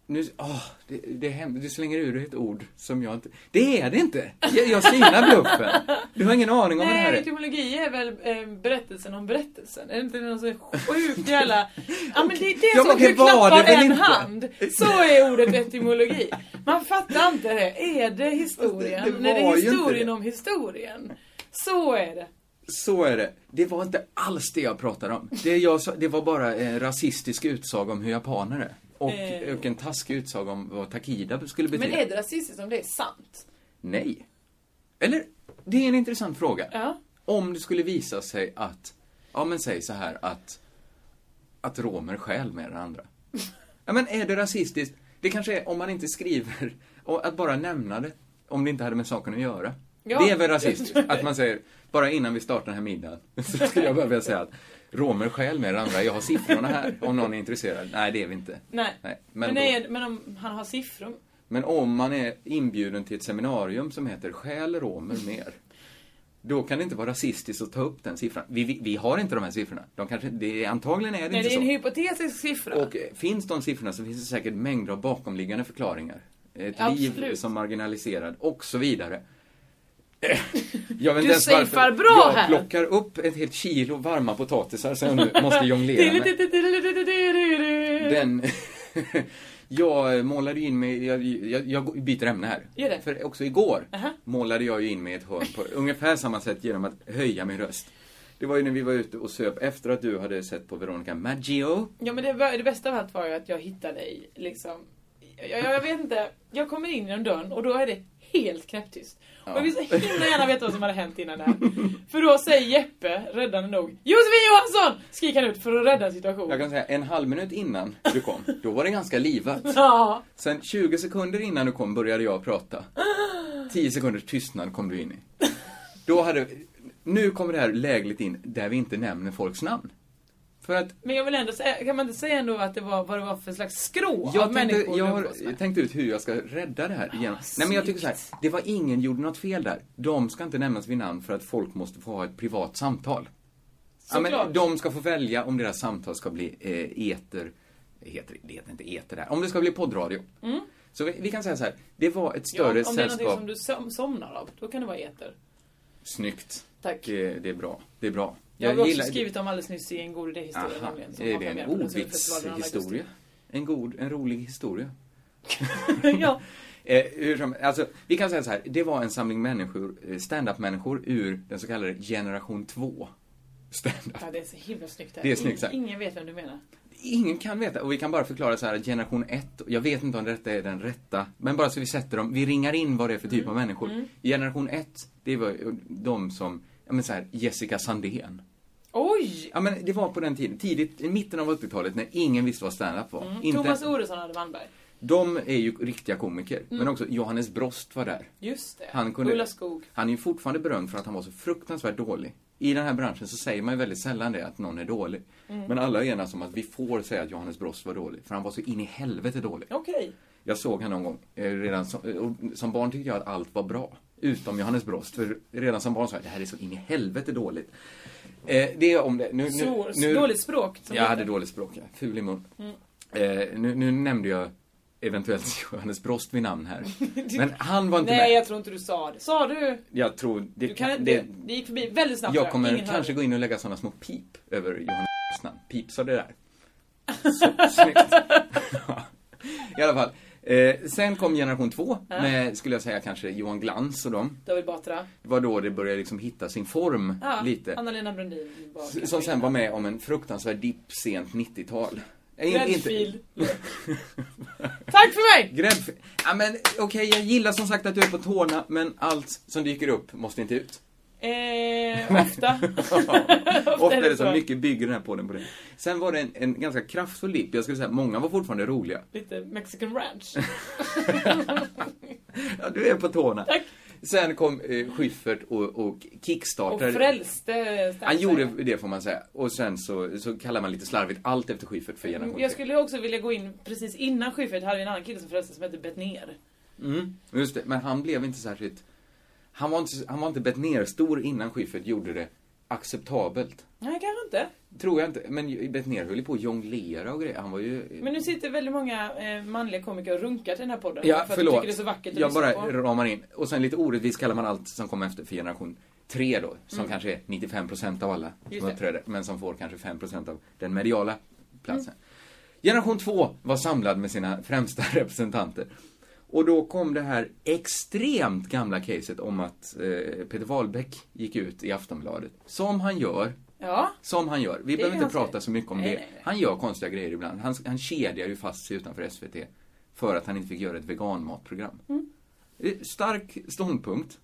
S2: Nu, åh, det, det är hem, du slänger ur dig ett ord som jag inte... Det är det inte! Jag, jag synar bluffen! Du har ingen aning om vad det här
S1: Nej,
S2: är.
S1: etymologi är väl eh, berättelsen om berättelsen? Är det inte någon så sjukt jävla... Ja men det är det
S2: Ja, men
S1: som
S2: det
S1: du
S2: var
S1: klappar
S2: det väl
S1: en
S2: inte?
S1: hand. Så är ordet etymologi. Man fattar inte det. Är det historien?
S2: Fast det- det
S1: när det
S2: var
S1: är
S2: ju inte
S1: historien
S2: det.
S1: om historien. Så är det.
S2: Så är det. Det var inte alls det jag pratade om. Det, jag sa, det var bara en rasistisk utsaga om hur japaner är. Och,
S1: Eh.
S2: och en taskig utsaga om vad takida skulle betyda.
S1: Men är det rasistiskt om det är sant?
S2: Nej. Eller, det är en intressant fråga.
S1: Ja.
S2: Om det skulle visa sig att, ja men säg så här att, att romer skäl med den andra. Ja men är det rasistiskt? Det kanske är om man inte skriver, och att bara nämna det, om det inte hade med saken att göra.
S1: Ja.
S2: Det är väl rasistiskt? Att man säger, bara innan vi startar den här middagen, så skulle jag bara vilja säga att romer skäl med den andra, jag har siffrorna här, om någon är intresserad. Nej, det är vi inte.
S1: Nej.
S2: men,
S1: Men,
S2: då-
S1: är, men om han har siffror?
S2: men om man är inbjuden till ett seminarium som heter Skäl romer mer, då kan det inte vara rasistiskt att ta upp den siffran. Vi, vi, vi har inte de här siffrorna. De kanske, det, är- antagligen är det
S1: Nej,
S2: inte
S1: det är
S2: så.
S1: en hypotetisk siffra.
S2: Och eh, finns de siffrorna så finns det säkert mängder av bakomliggande förklaringar. Ett liv
S1: Absolut.
S2: som marginaliserad och så vidare. Eh, Jag vet
S1: Du
S2: inte ens varför.
S1: safear bra
S2: jag
S1: här.
S2: plockar upp ett helt kilo varma potatisar som jag nu måste jonglera med.
S1: Den...
S2: Den... jag målade ju in mig, jag, jag, jag byter ämne här.
S1: Gör det.
S2: För också igår
S1: Aha.
S2: målade jag ju in mig i ett hörn på ungefär samma sätt genom att höja min röst. Det var ju när vi var ute och söp efter att du hade sett på Veronica Maggio.
S1: Ja men det, var- det bästa av allt var ju att jag hittade dig liksom. Jag, jag, jag vet inte. Jag kommer in genom dörren och då är det helt knäpptyst. Och jag vill så himla gärna veta vad som hade hänt innan det här. För då säger Jeppe, räddande nog, Josefin Johansson! Skriker han ut för att rädda
S2: Jag
S1: situationen.
S2: kan säga en halv minut innan du kom, då var det ganska livat.
S1: Ja.
S2: Sen 20 sekunder innan du kom började jag prata. 10 sekunders tystnad kom du in i. Då hade... Nu kommer det här lägligt in där vi inte nämner folks namn. För att
S1: Men jag vill ändå säga, kan man inte säga ändå att det var, vad det var för slags skrå av
S2: Jag tänkte,
S1: människor
S2: jag
S1: du
S2: har
S1: umgås med?
S2: tänkt ut hur jag ska rädda det här
S1: Ah,
S2: genom... Nej men jag tycker så här, det var ingen gjorde något fel där. De ska inte nämnas vid namn för att folk måste få ha ett privat samtal. Ja, men
S1: Såklart.
S2: de ska få välja om deras samtal ska bli eh, eter... Heter, det heter inte eter där. Om det ska bli poddradio. Så vi, vi kan säga så här, det var ett
S1: Mm. Ja, om
S2: större
S1: det är någonting
S2: sällskap.
S1: som du som, somnar av, då kan det vara eter.
S2: Snyggt.
S1: Tack.
S2: Det, det är bra. Det är bra.
S1: Jag, har också skrivit om alldeles nyss i en god
S2: Aha,
S1: idéhistoria nämligen. som
S2: är
S1: har
S2: det
S1: premiär
S2: en
S1: på Kulturfestivalen i augusti.
S2: ordvitshistoria? En god, en rolig historia.
S1: ja.
S2: Eh, hur som, alltså, vi kan säga så här, det var en samling människor, eh, stand-up-människor ur den så kallade generation 2. Stand-up.
S1: ja, det är så himla snyggt här.
S2: Det är snyggt sagt.
S1: Ingen vet vem du menar.
S2: Ingen kan veta, och vi kan bara förklara så här att generation 1, jag vet inte om detta är den rätta, men bara så vi sätter dem, vi ringar in vad det är för typ av människor. Generation 1, det var ju de som, ja men så här, Jessica Sandén.
S1: Oj!
S2: Ja men det var på den tiden, tidigt, i mitten av 80-talet när ingen visste vad stand-up var. Inte-
S1: Mm. Thomas Oresson hade Wannberg.
S2: De är ju riktiga komiker, men också Johannes Brost var där.
S1: Just det.
S2: Han kunde,
S1: Ulla Skog.
S2: Han är ju fortfarande berömd för att han var så fruktansvärt dålig. I den här branschen så säger man ju väldigt sällan det, att någon är dålig.
S1: Mm.
S2: Men alla enas om att vi får säga att Johannes Brost var dålig, för han var så in i helvete dålig.
S1: Okej.
S2: Jag såg honom någon gång, eh, redan som, eh, och som barn tyckte jag att allt var bra. Utom Johannes Brost, för redan som barn sa jag det här är så in i helvete dåligt. Eh, det är om det. Nu,
S1: Så,
S2: nu, nu,
S1: dåligt språk. Mm. som
S2: jag
S1: heter.
S2: hade dåligt språk, ja. ful i mun. Eh, nu, nu nämnde jag eventuellt Johannes Brost vid namn här. Men han var inte
S1: Nej,
S2: med.
S1: jag tror inte du sa det. Sa du?
S2: Jag tror... Det,
S1: Du kan, det,
S2: det,
S1: det gick förbi väldigt snabbt.
S2: jag
S1: tror
S2: kommer
S1: Ingen hörde.
S2: kanske gå in och lägga sådana små pip över Johannes Snabbt, pips av det där. Så, snyggt. Ja. I alla fall. Eh, sen kom generation två med, skulle jag säga, kanske Johan Glans och dem.
S1: David Batra.
S2: Det var då det började liksom hitta sin form
S1: Ja,
S2: lite.
S1: Anna-Lena Brundin. var
S2: S-
S1: kanske
S2: Som sen
S1: innan.
S2: var med om en fruktansvärd dipp sent 90-tal. Eh, in-
S1: Redfield. Tack för mig!
S2: Gräddfil. Ja men okej, jag gillar som sagt att du är på tårna, men allt som dyker upp måste inte ut.
S1: Eh, ofta.
S2: Ofta är det så, mycket bygger den här podden på det. Sen var det en, en ganska kraftfull dipp, jag skulle säga många var fortfarande roliga.
S1: Lite Mexican ranch.
S2: Ja, du är på tårna.
S1: Tack.
S2: Sen kom eh, Schyffert och, och
S1: Och
S2: kickstartade.
S1: frälste
S2: Han gjorde det får man säga. Och sen så, så kallar man lite slarvigt allt efter Schyffert för generation
S1: Mm, Jag
S2: tre.
S1: skulle också vilja gå in precis innan Schyffert hade vi en annan kille som frälste som hette Bettner.
S2: Mm, just det. Men han blev inte särskilt... Han var inte, han var inte bett ner stor innan Schyffert gjorde det acceptabelt.
S1: Nej, kanske inte.
S2: Tror jag inte. Men Bettner höll ju på att jonglera och grejer. Han var ju...
S1: Men nu sitter väldigt många eh, manliga komiker och runkar till den här podden.
S2: ja,
S1: för
S2: förlåt.
S1: Att de tycker det är så vackert att
S2: jag bara
S1: lyssna på.
S2: ramar in. Och sen lite orättvist kallar man allt som kom efter för generation 3 då. Som kanske är 95% av alla
S1: Mm. Just
S2: som
S1: det. Mm.
S2: uppträder. Men som får kanske 5% av den mediala platsen. Generation 2 var samlad med sina främsta representanter. Och då kom det här extremt gamla caset om att eh, Peter Wahlbeck gick ut i Aftonbladet. Som han gör.
S1: Ja.
S2: Som han gör. Vi
S1: Det är
S2: behöver
S1: ju
S2: inte
S1: hans
S2: prata så mycket om
S1: Nej,
S2: det.
S1: nej, nej.
S2: Han gör konstiga grejer ibland. Han, han kedjar ju fast sig utanför SVT för att han inte fick göra ett veganmatprogram.
S1: Mm.
S2: Eh, Stark ståndpunkt.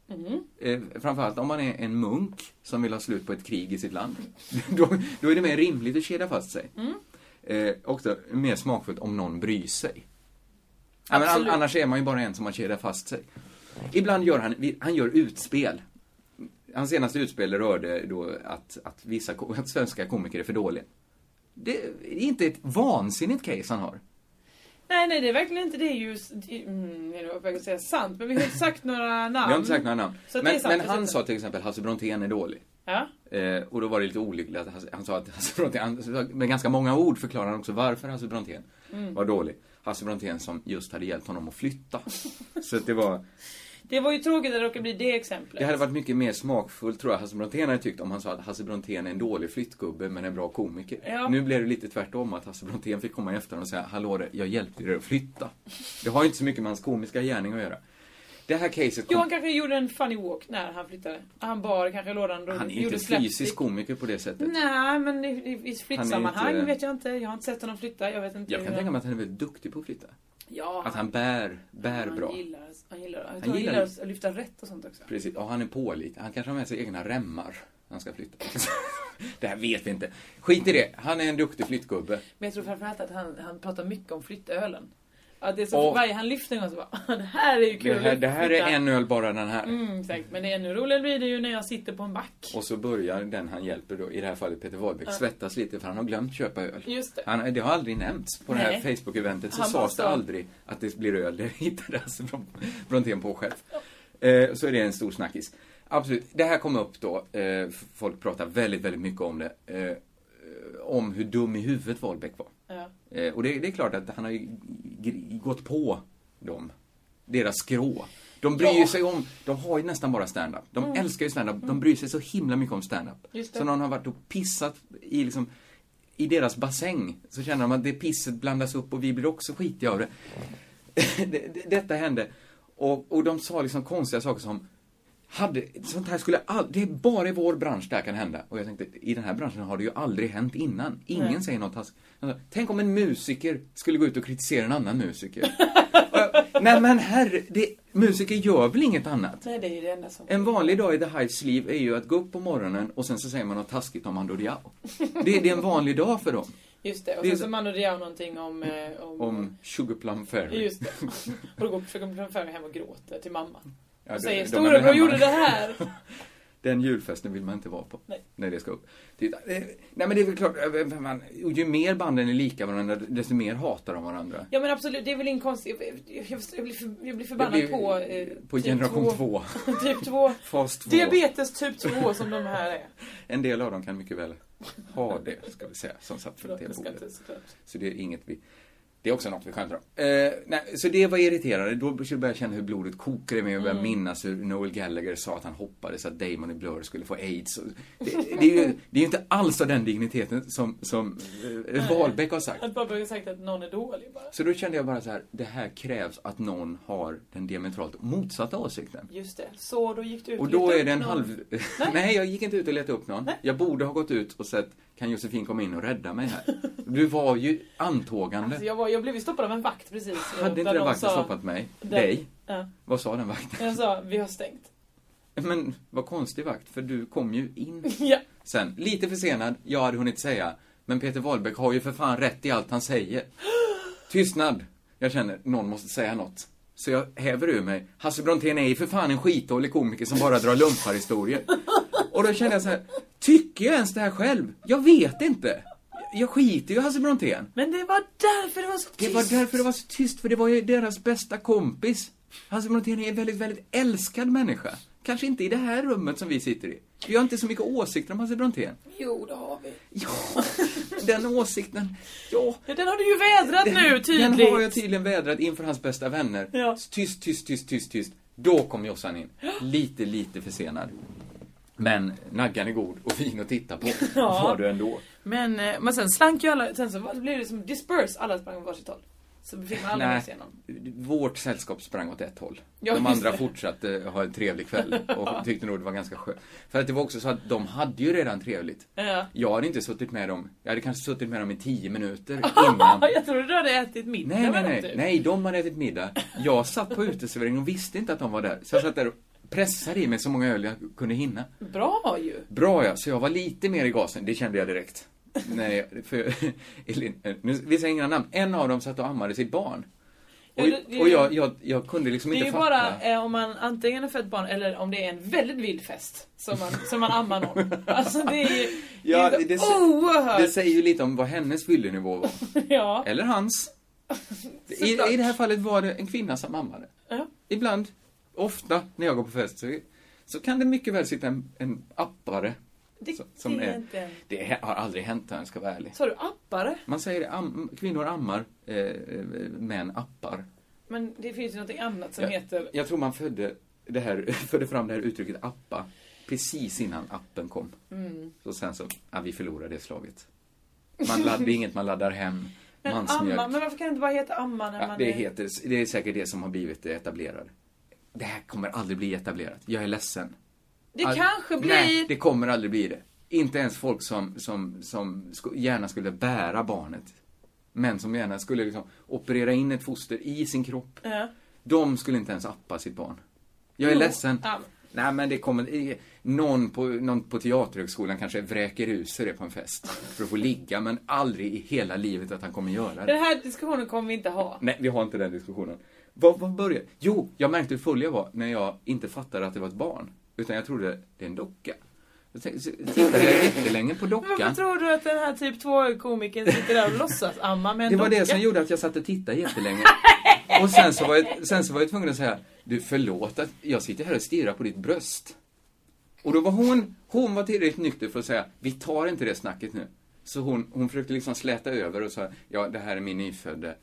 S2: Eh, framförallt om man är en munk som vill ha slut på ett krig i sitt land. då, då är det mer rimligt att kedja fast sig.
S1: Mm.
S2: Eh, också mer smakfullt om någon bryr sig. Ja, men an,
S1: Absolut.
S2: annars är man ju bara en som har kedjat fast sig. Ibland gör han, han gör utspel. Hans senaste utspel rörde då att, att, vissa, ko- att svenska komiker är för dåliga. Det är inte ett vansinnigt case han har.
S1: Nej, nej, det är verkligen inte det. det är ju... det- Mm, jag var på väg att säga sant, men vi har inte sagt några namn.
S2: Vi har inte sagt några namn.
S1: Så att det är
S2: Men,
S1: sant,
S2: men
S1: det är
S2: han
S1: sant.
S2: sa till exempel Hasse Brontén är dålig.
S1: Ja.
S2: Eh, och då var det lite olyckligt att Hasse, han sa att Hasse Brontén, han, med ganska många ord förklarade han också varför Hasse Brontén
S1: Mm.
S2: var dålig. Hasse Brontén som just hade hjälpt honom att flytta. Så att det var,
S1: Det var ju tråkigt att det råkade bli det exemplet.
S2: det hade varit mycket mer smakfullt tror jag Hasse Brontén hade tyckt om han sa att Hasse Brontén är en dålig flyttgubbe men en bra komiker.
S1: Ja.
S2: Nu blev det lite tvärtom att Hasse Brontén fick komma i efterhand och säga Hallå där, jag hjälpte dig att flytta. Det har ju inte så mycket med hans komiska gärning att göra. Det här caset kom
S1: Johan kanske gjorde en funny walk när han flyttade. Han bar kanske lådan och
S2: Han är ju
S1: gjorde
S2: inte
S1: slapstick.
S2: fysisk komiker på det sättet.
S1: Nej, men i, i, i flyttsammanhang
S2: inte-
S1: vet jag inte. Jag har inte sett honom flytta. Jag vet inte
S2: Jag
S1: hur
S2: kan
S1: han-
S2: tänka mig att han är väldigt duktig på att flytta.
S1: ja,
S2: Att han bär, bär
S1: han
S2: bra.
S1: Gillar, han gillar, han,
S2: gillar
S1: han gillar
S2: det.
S1: att lyfta rätt och sånt också.
S2: Precis, och han är pålitlig. Han kanske har med sig egna remmar när han ska flytta. det här vet vi inte. Skit i det, han är en duktig flyttgubbe.
S1: Men jag tror framförallt att han, han pratar mycket om flyttölen. Att det är så
S2: Och-
S1: för varje han lyfter en gång så bara, det här är ju kul
S2: Det här,
S1: att
S2: det här är
S1: flytta."
S2: en öl bara den här.
S1: Mm, exakt. Men det är ännu roligare blir det ju när jag sitter på en back.
S2: Och så börjar den han hjälper då, i det här fallet Peter Wahlbeck, svettas lite för han har glömt köpa öl.
S1: Just det.
S2: Han, det har aldrig nämnts. På det här
S1: Nej.
S2: Facebook-eventet så
S1: Han bara
S2: sades det
S1: sa-
S2: aldrig att det blir öl. Det hittade alltså Bron- Brontén på själv. Eh, så är det en stor snackis. Absolut, det här kom upp då. Eh, f- folk pratar väldigt, väldigt mycket om det. Eh, om hur dum i huvudet Wahlbeck var.
S1: Ja.
S2: Eh, och det, det är klart att han har ju gr- gått på dem. Deras skrå. De bryr sig om, de har ju nästan bara stand-up. De älskar ju stand-up. De bryr sig så himla mycket om stand-up.
S1: Mm. Just det.
S2: Så någon har varit och pissat i liksom i deras bassäng så känner de att det pisset blandas upp och vi blir också skitiga av det. Det- det- Detta hände. Och, och de sa liksom konstiga saker som hade, sånt här skulle all, det är bara i vår bransch det här kan hända. Och jag tänkte, i den här branschen har det ju aldrig hänt innan. Ingen säger något taskigt. Jag sa, Tänk om en musiker skulle gå ut och kritisera en annan musiker. Och jag, Nej men herre, det, musiker gör väl inget annat?
S1: Nej, det är ju det enda som...
S2: En vanlig dag i The Hives liv är ju att gå upp på morgonen och sen så säger man något taskigt om Mando Diao. Det, det är en vanlig dag för dem.
S1: Just det. Och
S2: Det är
S1: sen
S2: så-
S1: så Mando Diao någonting om... eh, om...
S2: Om Sugar Plum Fairy.
S1: Just det. Och då går- försöker de framför mig hem och gråter till mamma.
S2: Ja,
S1: Och
S2: det-
S1: säger
S2: de är väl
S1: storebror
S2: hemma."
S1: gjorde det här.
S2: Den julfesten vill man inte vara på.
S1: Nej.
S2: När det ska upp. Titta, eh, Nej men det är väl klart, eh, vem man, och ju mer banden är lika varandra, desto mer hatar de varandra.
S1: Ja men absolut, det är väl ingen konstig... Jag, jag, jag, blir, för, jag blir förbannad
S2: Det blir-
S1: på... eh,
S2: på generation två.
S1: typ 2.
S2: Fas 2.
S1: Diabetes typ 2 som de här är.
S2: En del av dem kan mycket väl ha det, ska vi säga, som satt för
S1: Förlåt, jag ska
S2: det
S1: inte såklart.
S2: Så det är inget vi Det är också något vi skämtar om. Eh, nej, så det var irriterande. Då började jag känna hur blodet kokade men jag började
S1: Mm.
S2: minnas hur Noel Gallagher sa att han hoppades att Damon i Blur skulle få aids. Och Det, det, är, ju, det är ju inte alls av den digniteten som, som eh, Wahlbeck har sagt.
S1: Att bara börja sagt att någon är dålig bara.
S2: Så då kände jag bara så här, det här krävs att någon har den diametralt motsatta åsikten.
S1: Just det. Så då gick du ut
S2: Och
S1: lite
S2: då är
S1: upp
S2: det en
S1: någon-
S2: halv... Nej. jag gick inte ut och letade upp någon. Jag borde ha gått ut och sett, kan Josefin komma in och rädda mig här? Du var ju antågande.
S1: Alltså jag, var, jag blev ju stoppad av en vakt precis.
S2: Hade inte
S1: Där
S2: den
S1: de
S2: vakten
S1: sa-
S2: stoppat mig?
S1: Den-
S2: Dig?
S1: Ja.
S2: Vad sa den vakten?
S1: Jag sa, vi har stängt.
S2: Men vad konstig vakt, för du kom ju in
S1: Ja.
S2: sen. Lite försenad, jag hade hunnit säga. Men Peter Wahlbeck har ju för fan rätt i allt han säger. Tystnad! Jag känner, någon måste säga något. Så jag häver ur mig, Hasse Brontén är ju för fan en skitdålig komiker som bara drar lumparhistorier. Och då känner jag så här, tycker jag ens det här själv? Jag vet inte. Jag skiter ju i Hasse Brontén.
S1: Men det var därför det var så
S2: Det
S1: tyst.
S2: var därför det var så tyst, för det var ju deras bästa kompis. Hans Brontén är en väldigt, väldigt älskad människa. Kanske inte i det här rummet som vi sitter i. Vi har inte så mycket åsikter om Hasse Brontén.
S1: Jo, det har vi.
S2: Ja, den åsikten, ja.
S1: Ja, den har du ju vädrat nu tydligt.
S2: Den har jag tydligen vädrat inför hans bästa vänner.
S1: Ja.
S2: Tyst, tyst, tyst, tyst, tyst. Då kom Jossan in. Lite, lite försenad. Men naggan är god och fin att titta på.
S1: Ja.
S2: Var du ändå.
S1: Men, eh, men sen slank ju alla, sen så var- blev det som disperse, alla sprang åt varsitt håll. Så fick man aldrig
S2: Nej,
S1: med sig någon.
S2: vårt sällskap sprang åt ett håll.
S1: Ja,
S2: de
S1: just
S2: andra
S1: det.
S2: fortsatte ha en trevlig kväll och tyckte nog det var ganska skönt. För att det var också så att de hade ju redan trevligt.
S1: Ja.
S2: Jag hade inte suttit med dem, jag hade kanske suttit med dem i tio minuter innan.
S1: jag trodde du hade ätit middag
S2: Nej, nej,
S1: med dem,
S2: nej,
S1: typ.
S2: nej, de hade ätit middag. Jag satt på uteserveringen och visste inte att de var där. Så jag satt där och pressade i mig så många öl jag kunde hinna.
S1: Bra ju.
S2: Bra ja, så jag var lite mer i gasen, det kände jag direkt. Nej, för, Elin, eh, nu, vi säger inga namn. En av dem satt och ammade sitt barn.
S1: Ja,
S2: Och,
S1: det- det-
S2: och jag, jag, jag kunde liksom
S1: Det är
S2: inte
S1: ju
S2: fatta.
S1: bara eh, om man antingen är fött barn eller om det är en väldigt vild fest som man, som man ammar någon. Alltså det är ju
S2: Ja,
S1: det är
S2: det- det-
S1: oerhört.
S2: Det säger ju lite om vad hennes fyllenivå var.
S1: ja.
S2: Eller hans. I,
S1: Såklart.
S2: I det här fallet var det en kvinna som ammade.
S1: Ja.
S2: Ibland, ofta, när jag går på fest så, så kan det mycket väl sitta en, en appare.
S1: Det,
S2: så- som
S1: det är
S2: är-
S1: inte en...
S2: Det he- har aldrig hänt, om jag ska vara ärlig.
S1: Sa du appare?
S2: Man säger det, am, kvinnor ammar, eh, eh, män appar.
S1: Men det finns ju något annat som
S2: Ja.
S1: heter...
S2: Jag tror man födde, det här, födde fram det här uttrycket appa precis innan appen kom.
S1: Mm.
S2: Så sen så, ja, vi förlorade det slaget. Man ladd, det är inget man laddar hem.
S1: Men
S2: Mansmjölk.
S1: amma, men varför kan det inte bara heta amma när
S2: Ja,
S1: man är...
S2: det, heter, det är säkert det som har blivit det etablerade. Det här kommer aldrig bli etablerat. Jag är ledsen.
S1: Det
S2: All-
S1: kanske blir...
S2: Nej, det kommer aldrig bli det. Inte ens folk som, som, som sko- gärna skulle bära barnet. Men som gärna skulle liksom operera in ett foster i sin kropp.
S1: Ja.
S2: De skulle inte ens appa sitt barn. Jag är
S1: Jo,
S2: ledsen.
S1: ja.
S2: Nej men det kommer... eh, Någon på, någon på Teaterhögskolan kanske vräker ut sig det på en fest. För att få ligga, men aldrig i hela livet att han kommer göra det.
S1: Den här diskussionen kommer vi inte ha.
S2: Nej, vi har inte den diskussionen. Vad, vad började? Jo, jag märkte hur full jag var när jag inte fattade att det var ett barn. Utan jag trodde, det är en docka. Jag tänkte- så tittade jag jättelänge på
S1: Men Varför
S2: dockan.
S1: tror du att den här typ 2-komikern sitter där och låtsas amma med en
S2: Det var
S1: docka?
S2: det som gjorde att jag satt och tittade jättelänge. Och sen så var jag, sen så var jag tvungen att säga, du förlåt att jag sitter här och stirrar på ditt bröst. Och då var hon, hon var tillräckligt nykter för att säga, vi tar inte det snacket nu. Så hon, hon försökte liksom släta över och sa, ja det här är min nyfödde.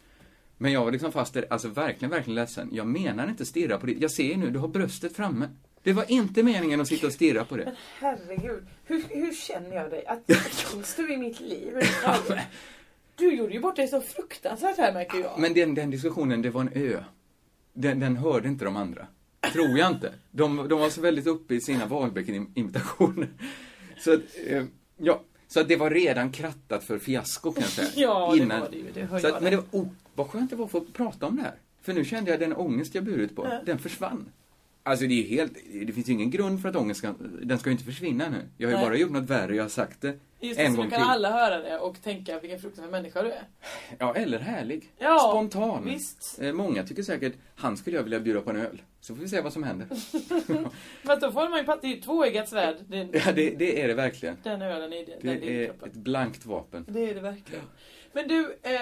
S2: Men jag var liksom fast där, alltså verkligen, verkligen ledsen. Jag menar inte stirra på det. Jag ser ju nu, du har bröstet framme. Det var inte meningen att sitta och stirra på det.
S1: Herregud, hur, hur känner jag dig? Att finns du i mitt liv överhuvudtaget? Du gjorde ju bort dig så fruktansvärt här märker jag.
S2: Men den, den diskussionen, det var en ö. Den, den hörde inte de andra. Tror jag inte. De, de var så väldigt uppe i sina Wahlbeck-imitationer. Så att, eh, ja. Så att det var redan krattat för fiasko kan jag säga.
S1: Ja, det var det ju. Det hör
S2: så
S1: jag
S2: att, men
S1: det.
S2: det var, oh, vad skönt det var att få prata om det här. För nu kände jag den ångest jag burit på, den försvann. Alltså det är ju helt, det finns ju ingen grund för att ångest ska, den ska ju inte försvinna nu. Jag har ju
S1: Nej.
S2: bara gjort något värre, jag har sagt det
S1: Just det,
S2: en
S1: så nu
S2: gång
S1: kan
S2: till.
S1: alla höra det och tänka vilken fruktansvärd människa du är.
S2: Ja, eller härlig.
S1: Ja,
S2: Spontan.
S1: visst.
S2: Eh, många tycker säkert, han skulle jag vilja bjuda på en öl. Så får vi se vad som händer.
S1: Fast då får man ju, det är ju tvåeggat svärd, den,
S2: ja, det, det är det verkligen.
S1: den ölen i det, den
S2: Det
S1: lilla
S2: är
S1: kroppen.
S2: ett blankt vapen.
S1: Det är det verkligen. Men du, eh,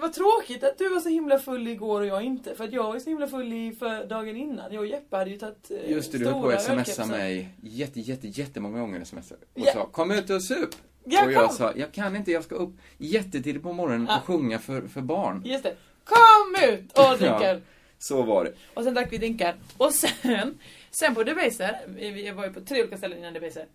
S1: vad tråkigt att du var så himla full igår och jag inte. För att jag var så himla full i för dagen innan. Jag och Jeppe hade ju tagit eh,
S2: Just det, du höll på
S1: stora
S2: att smsa
S1: ölkepsar.
S2: mig jätte, jätte, jättemånga gånger sms och
S1: Ja.
S2: sa Kom ut och sup!
S1: Ja,
S2: och jag
S1: kom.
S2: sa, jag kan inte, jag ska upp jättetidigt på morgonen
S1: Ja.
S2: och sjunga för, för barn.
S1: Just det. Kom ut och dricker!
S2: Ja, så var det.
S1: Och sen drack vi drinkar. Och sen, sen på Debaser, vi vi var ju på tre olika ställen innan Debaser.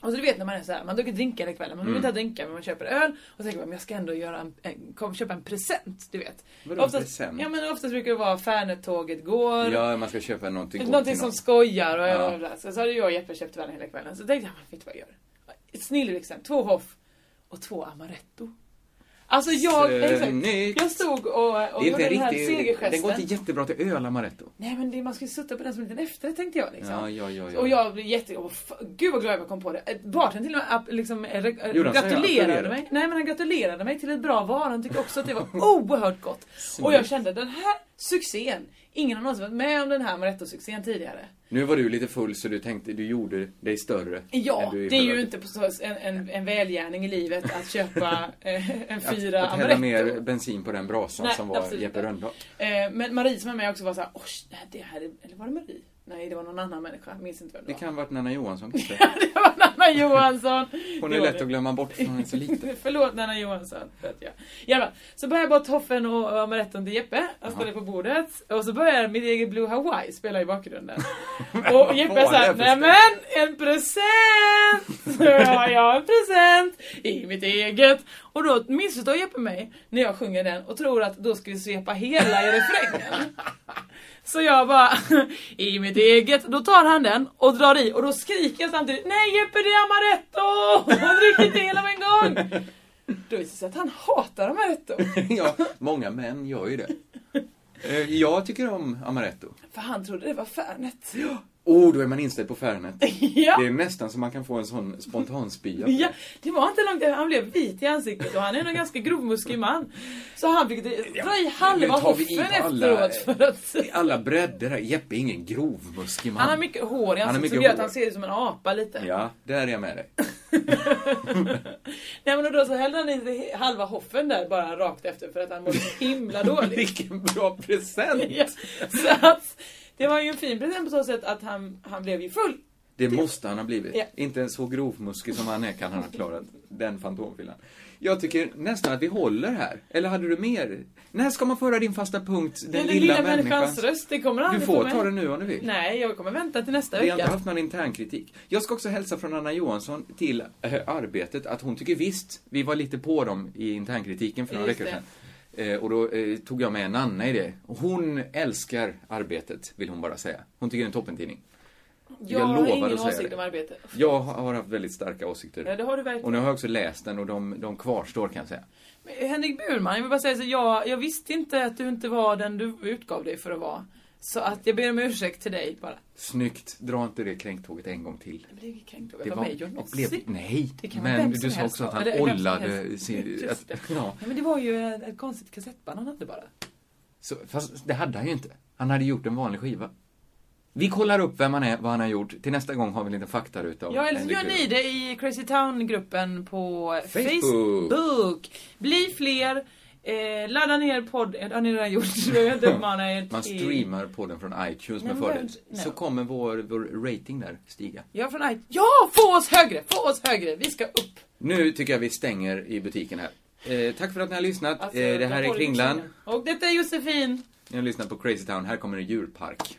S1: Och så du vet när man är så här, man dricker drinkar hela kvällen, man
S2: Mm.
S1: vill inte ha drinkar men man köper öl. Och så tänker man, men jag ska ändå göra en, en, kom, köpa en present, du vet.
S2: Vadå en present?
S1: Ja men oftast brukar det vara Färnetåget går.
S2: Ja, man ska köpa någonting gott
S1: Någonting
S2: till
S1: som
S2: någon.
S1: skojar och
S2: Ja.
S1: ja. så, så hade jag och Jeppe köpt varandra hela kvällen. Så tänkte jag, men vet du vad jag gör? Snillrixen, två Hoff och två Amaretto. Alltså jag, exakt,
S2: Snyggt.
S1: jag stod och, och
S2: Eh, Det är inte
S1: gjorde den här
S2: riktigt,
S1: segergesten.
S2: den går inte jättebra till öl, amaretto.
S1: Nej men det, man ska ju sutta på den som en liten efterrätt tänkte jag. Liksom.
S2: Ja, ja, ja, ja.
S1: Och jag blev jätte... åh, f- Gud vad glad jag kom på det. Eh, Bartendern till och med app- liksom, eh, re- eh,
S2: Gjorde han så?
S1: gratulerade
S2: Gratulerade?
S1: mig. Nej men han gratulerade mig till ett bra val. Han tyckte också att det var oerhört gott. och jag kände den här succén. Ingen har någonsin varit med om den här Maretto-succén tidigare.
S2: Nu var du lite full så du tänkte, du gjorde dig större.
S1: Ja,
S2: än du i
S1: det är
S2: själva
S1: ju
S2: verket.
S1: inte på så, en, en, en välgärning i livet att köpa eh, en fyra
S2: att, att hälla
S1: Amaretto.
S2: mer bensin på den brasan
S1: Nej,
S2: som var
S1: absolut
S2: Jeppe
S1: inte.
S2: Rönndahl.
S1: Eh, men Marie som är med också var såhär, "Oj, det här är... Eller var det Marie? Nej, det var någon annan människa. Jag minns inte vem
S2: Det
S1: det var.
S2: kan ha varit Nanna Johansson kanske.
S1: Det var Nanna Johansson.
S2: Hon
S1: Det
S2: är
S1: var
S2: lätt
S1: det.
S2: att glömma bort för hon är så liten.
S1: Förlåt Nanna Johansson för att jag... I alla fall, så börjar jag bara toffen och och amaretten till Jeppe. Han ställer på bordet. Och så börjar mitt eget Blue Hawaii spela i bakgrunden. och
S2: vad
S1: Jeppe
S2: var
S1: såhär,
S2: det för
S1: nej men en present! Så har jag en present i mitt eget. Och då missförstår Jeppe mig när jag sjunger den och tror att då ska vi svepa hela i refrängen. Så jag bara, i mitt eget, då tar han den och drar i och då skriker jag samtidigt Nej Jeppe det är amaretto! Och dricker inte hela på en gång! Då visar det sig att han hatar amaretto.
S2: ja, många män gör ju det. Eh, Jag tycker om amaretto.
S1: För han trodde det var Fernet.
S2: Oh, då är man inställd på Fernet.
S1: Ja.
S2: Det är nästan så man kan få en sån spontanspya.
S1: Ja, det var inte långt efter han blev vit i ansiktet och han är en ganska grovmuskig man. Så han fick dra- dra i
S2: nu
S1: halva
S2: tar vi
S1: hoffen
S2: i på alla-
S1: efteråt för att...
S2: Alla bredder här. Jeppe är ingen grovmuskig man.
S1: Han har mycket hår i
S2: Han
S1: ansiktet
S2: har
S1: som
S2: mycket
S1: gör att han
S2: hår.
S1: ser ut som en apa lite.
S2: Ja, där är jag med dig.
S1: Nej men och då så hällde han i halva hoffen där bara rakt efter för att han mådde så himla dåligt.
S2: Vilken bra present!
S1: Ja, så att, det var ju en fin present på så sätt att han, han blev ju full.
S2: Det måste han ha blivit.
S1: Ja.
S2: Inte en så grovmuskig som han är kan han ha klarat den fantomfyllan. Jag tycker nästan att vi håller här. Eller hade du mer? När ska man föra din fasta punkt, den,
S1: Den,
S2: lilla, människans,
S1: röst, det kommer
S2: Du
S1: aldrig
S2: får
S1: mig.
S2: ta den nu om du vill.
S1: Nej, jag kommer vänta till nästa
S2: Vi har inte
S1: vecka.
S2: haft någon internkritik. Jag ska också hälsa från Anna Johansson till eh, Arbetet att hon tycker visst, vi var lite på dem i internkritiken för några
S1: Just
S2: veckor
S1: det.
S2: sedan. Eh, och då eh, tog jag med Nanna i det. Och hon älskar Arbetet, vill hon bara säga. Hon tycker det är en toppentidning.
S1: Jag,
S2: jag
S1: har
S2: lovar
S1: ingen
S2: att säga
S1: åsikt
S2: det.
S1: om arbete.
S2: Jag har haft väldigt starka åsikter.
S1: Ja, det har du verkligen.
S2: Och nu har jag också läst den och de, de kvarstår kan jag säga.
S1: Henrik Burman, jag vill bara säga så jag, jag visste inte att du inte var den du utgav dig för att vara. Så att jag ber om ursäkt till dig bara.
S2: Snyggt, dra inte det kränktåget en gång till.
S1: Jag blev inget kränkt
S2: Det
S1: över mig, jag
S2: det
S1: någonsin.
S2: blev, nej,
S1: Det kan vara
S2: men
S1: vem som
S2: du sa
S1: helst
S2: också att
S1: då, eller
S2: han
S1: vem som
S2: ollade
S1: helst.
S2: sin...
S1: Just
S2: Att,
S1: det.
S2: ja,
S1: Nej, men det var ju ett, ett konstigt kassettband han hade bara.
S2: så, fast det hade han ju inte. Han hade gjort en vanlig skiva. Vi kollar upp vem han är, vad han har gjort. Till nästa gång har vi en liten faktaruta om
S1: Ja, eller så
S2: Henrik
S1: gör ni
S2: Luleå.
S1: det i Crazy Town-gruppen på Facebook.
S2: Facebook.
S1: Bli fler, eh, ladda ner podd... eh, Det har ni redan gjort, så jag vill inte uppmana er
S2: Man
S1: till-
S2: streamar podden från iTunes
S1: Nej,
S2: med
S1: men
S2: fördel.
S1: vem-
S2: Så
S1: no.
S2: kommer vår, vår rating där stiga.
S1: Ja, från I- ja, få oss högre! Få oss högre! Vi ska upp!
S2: Nu tycker jag vi stänger i butiken här. Eh, tack för att ni har lyssnat.
S1: Alltså,
S2: eh, det
S1: jag
S2: här är
S1: håller i
S2: Kringlan.
S1: kniven. Och detta är Josefin.
S2: Ni har lyssnat på Crazy Town. Här kommer en djurpark.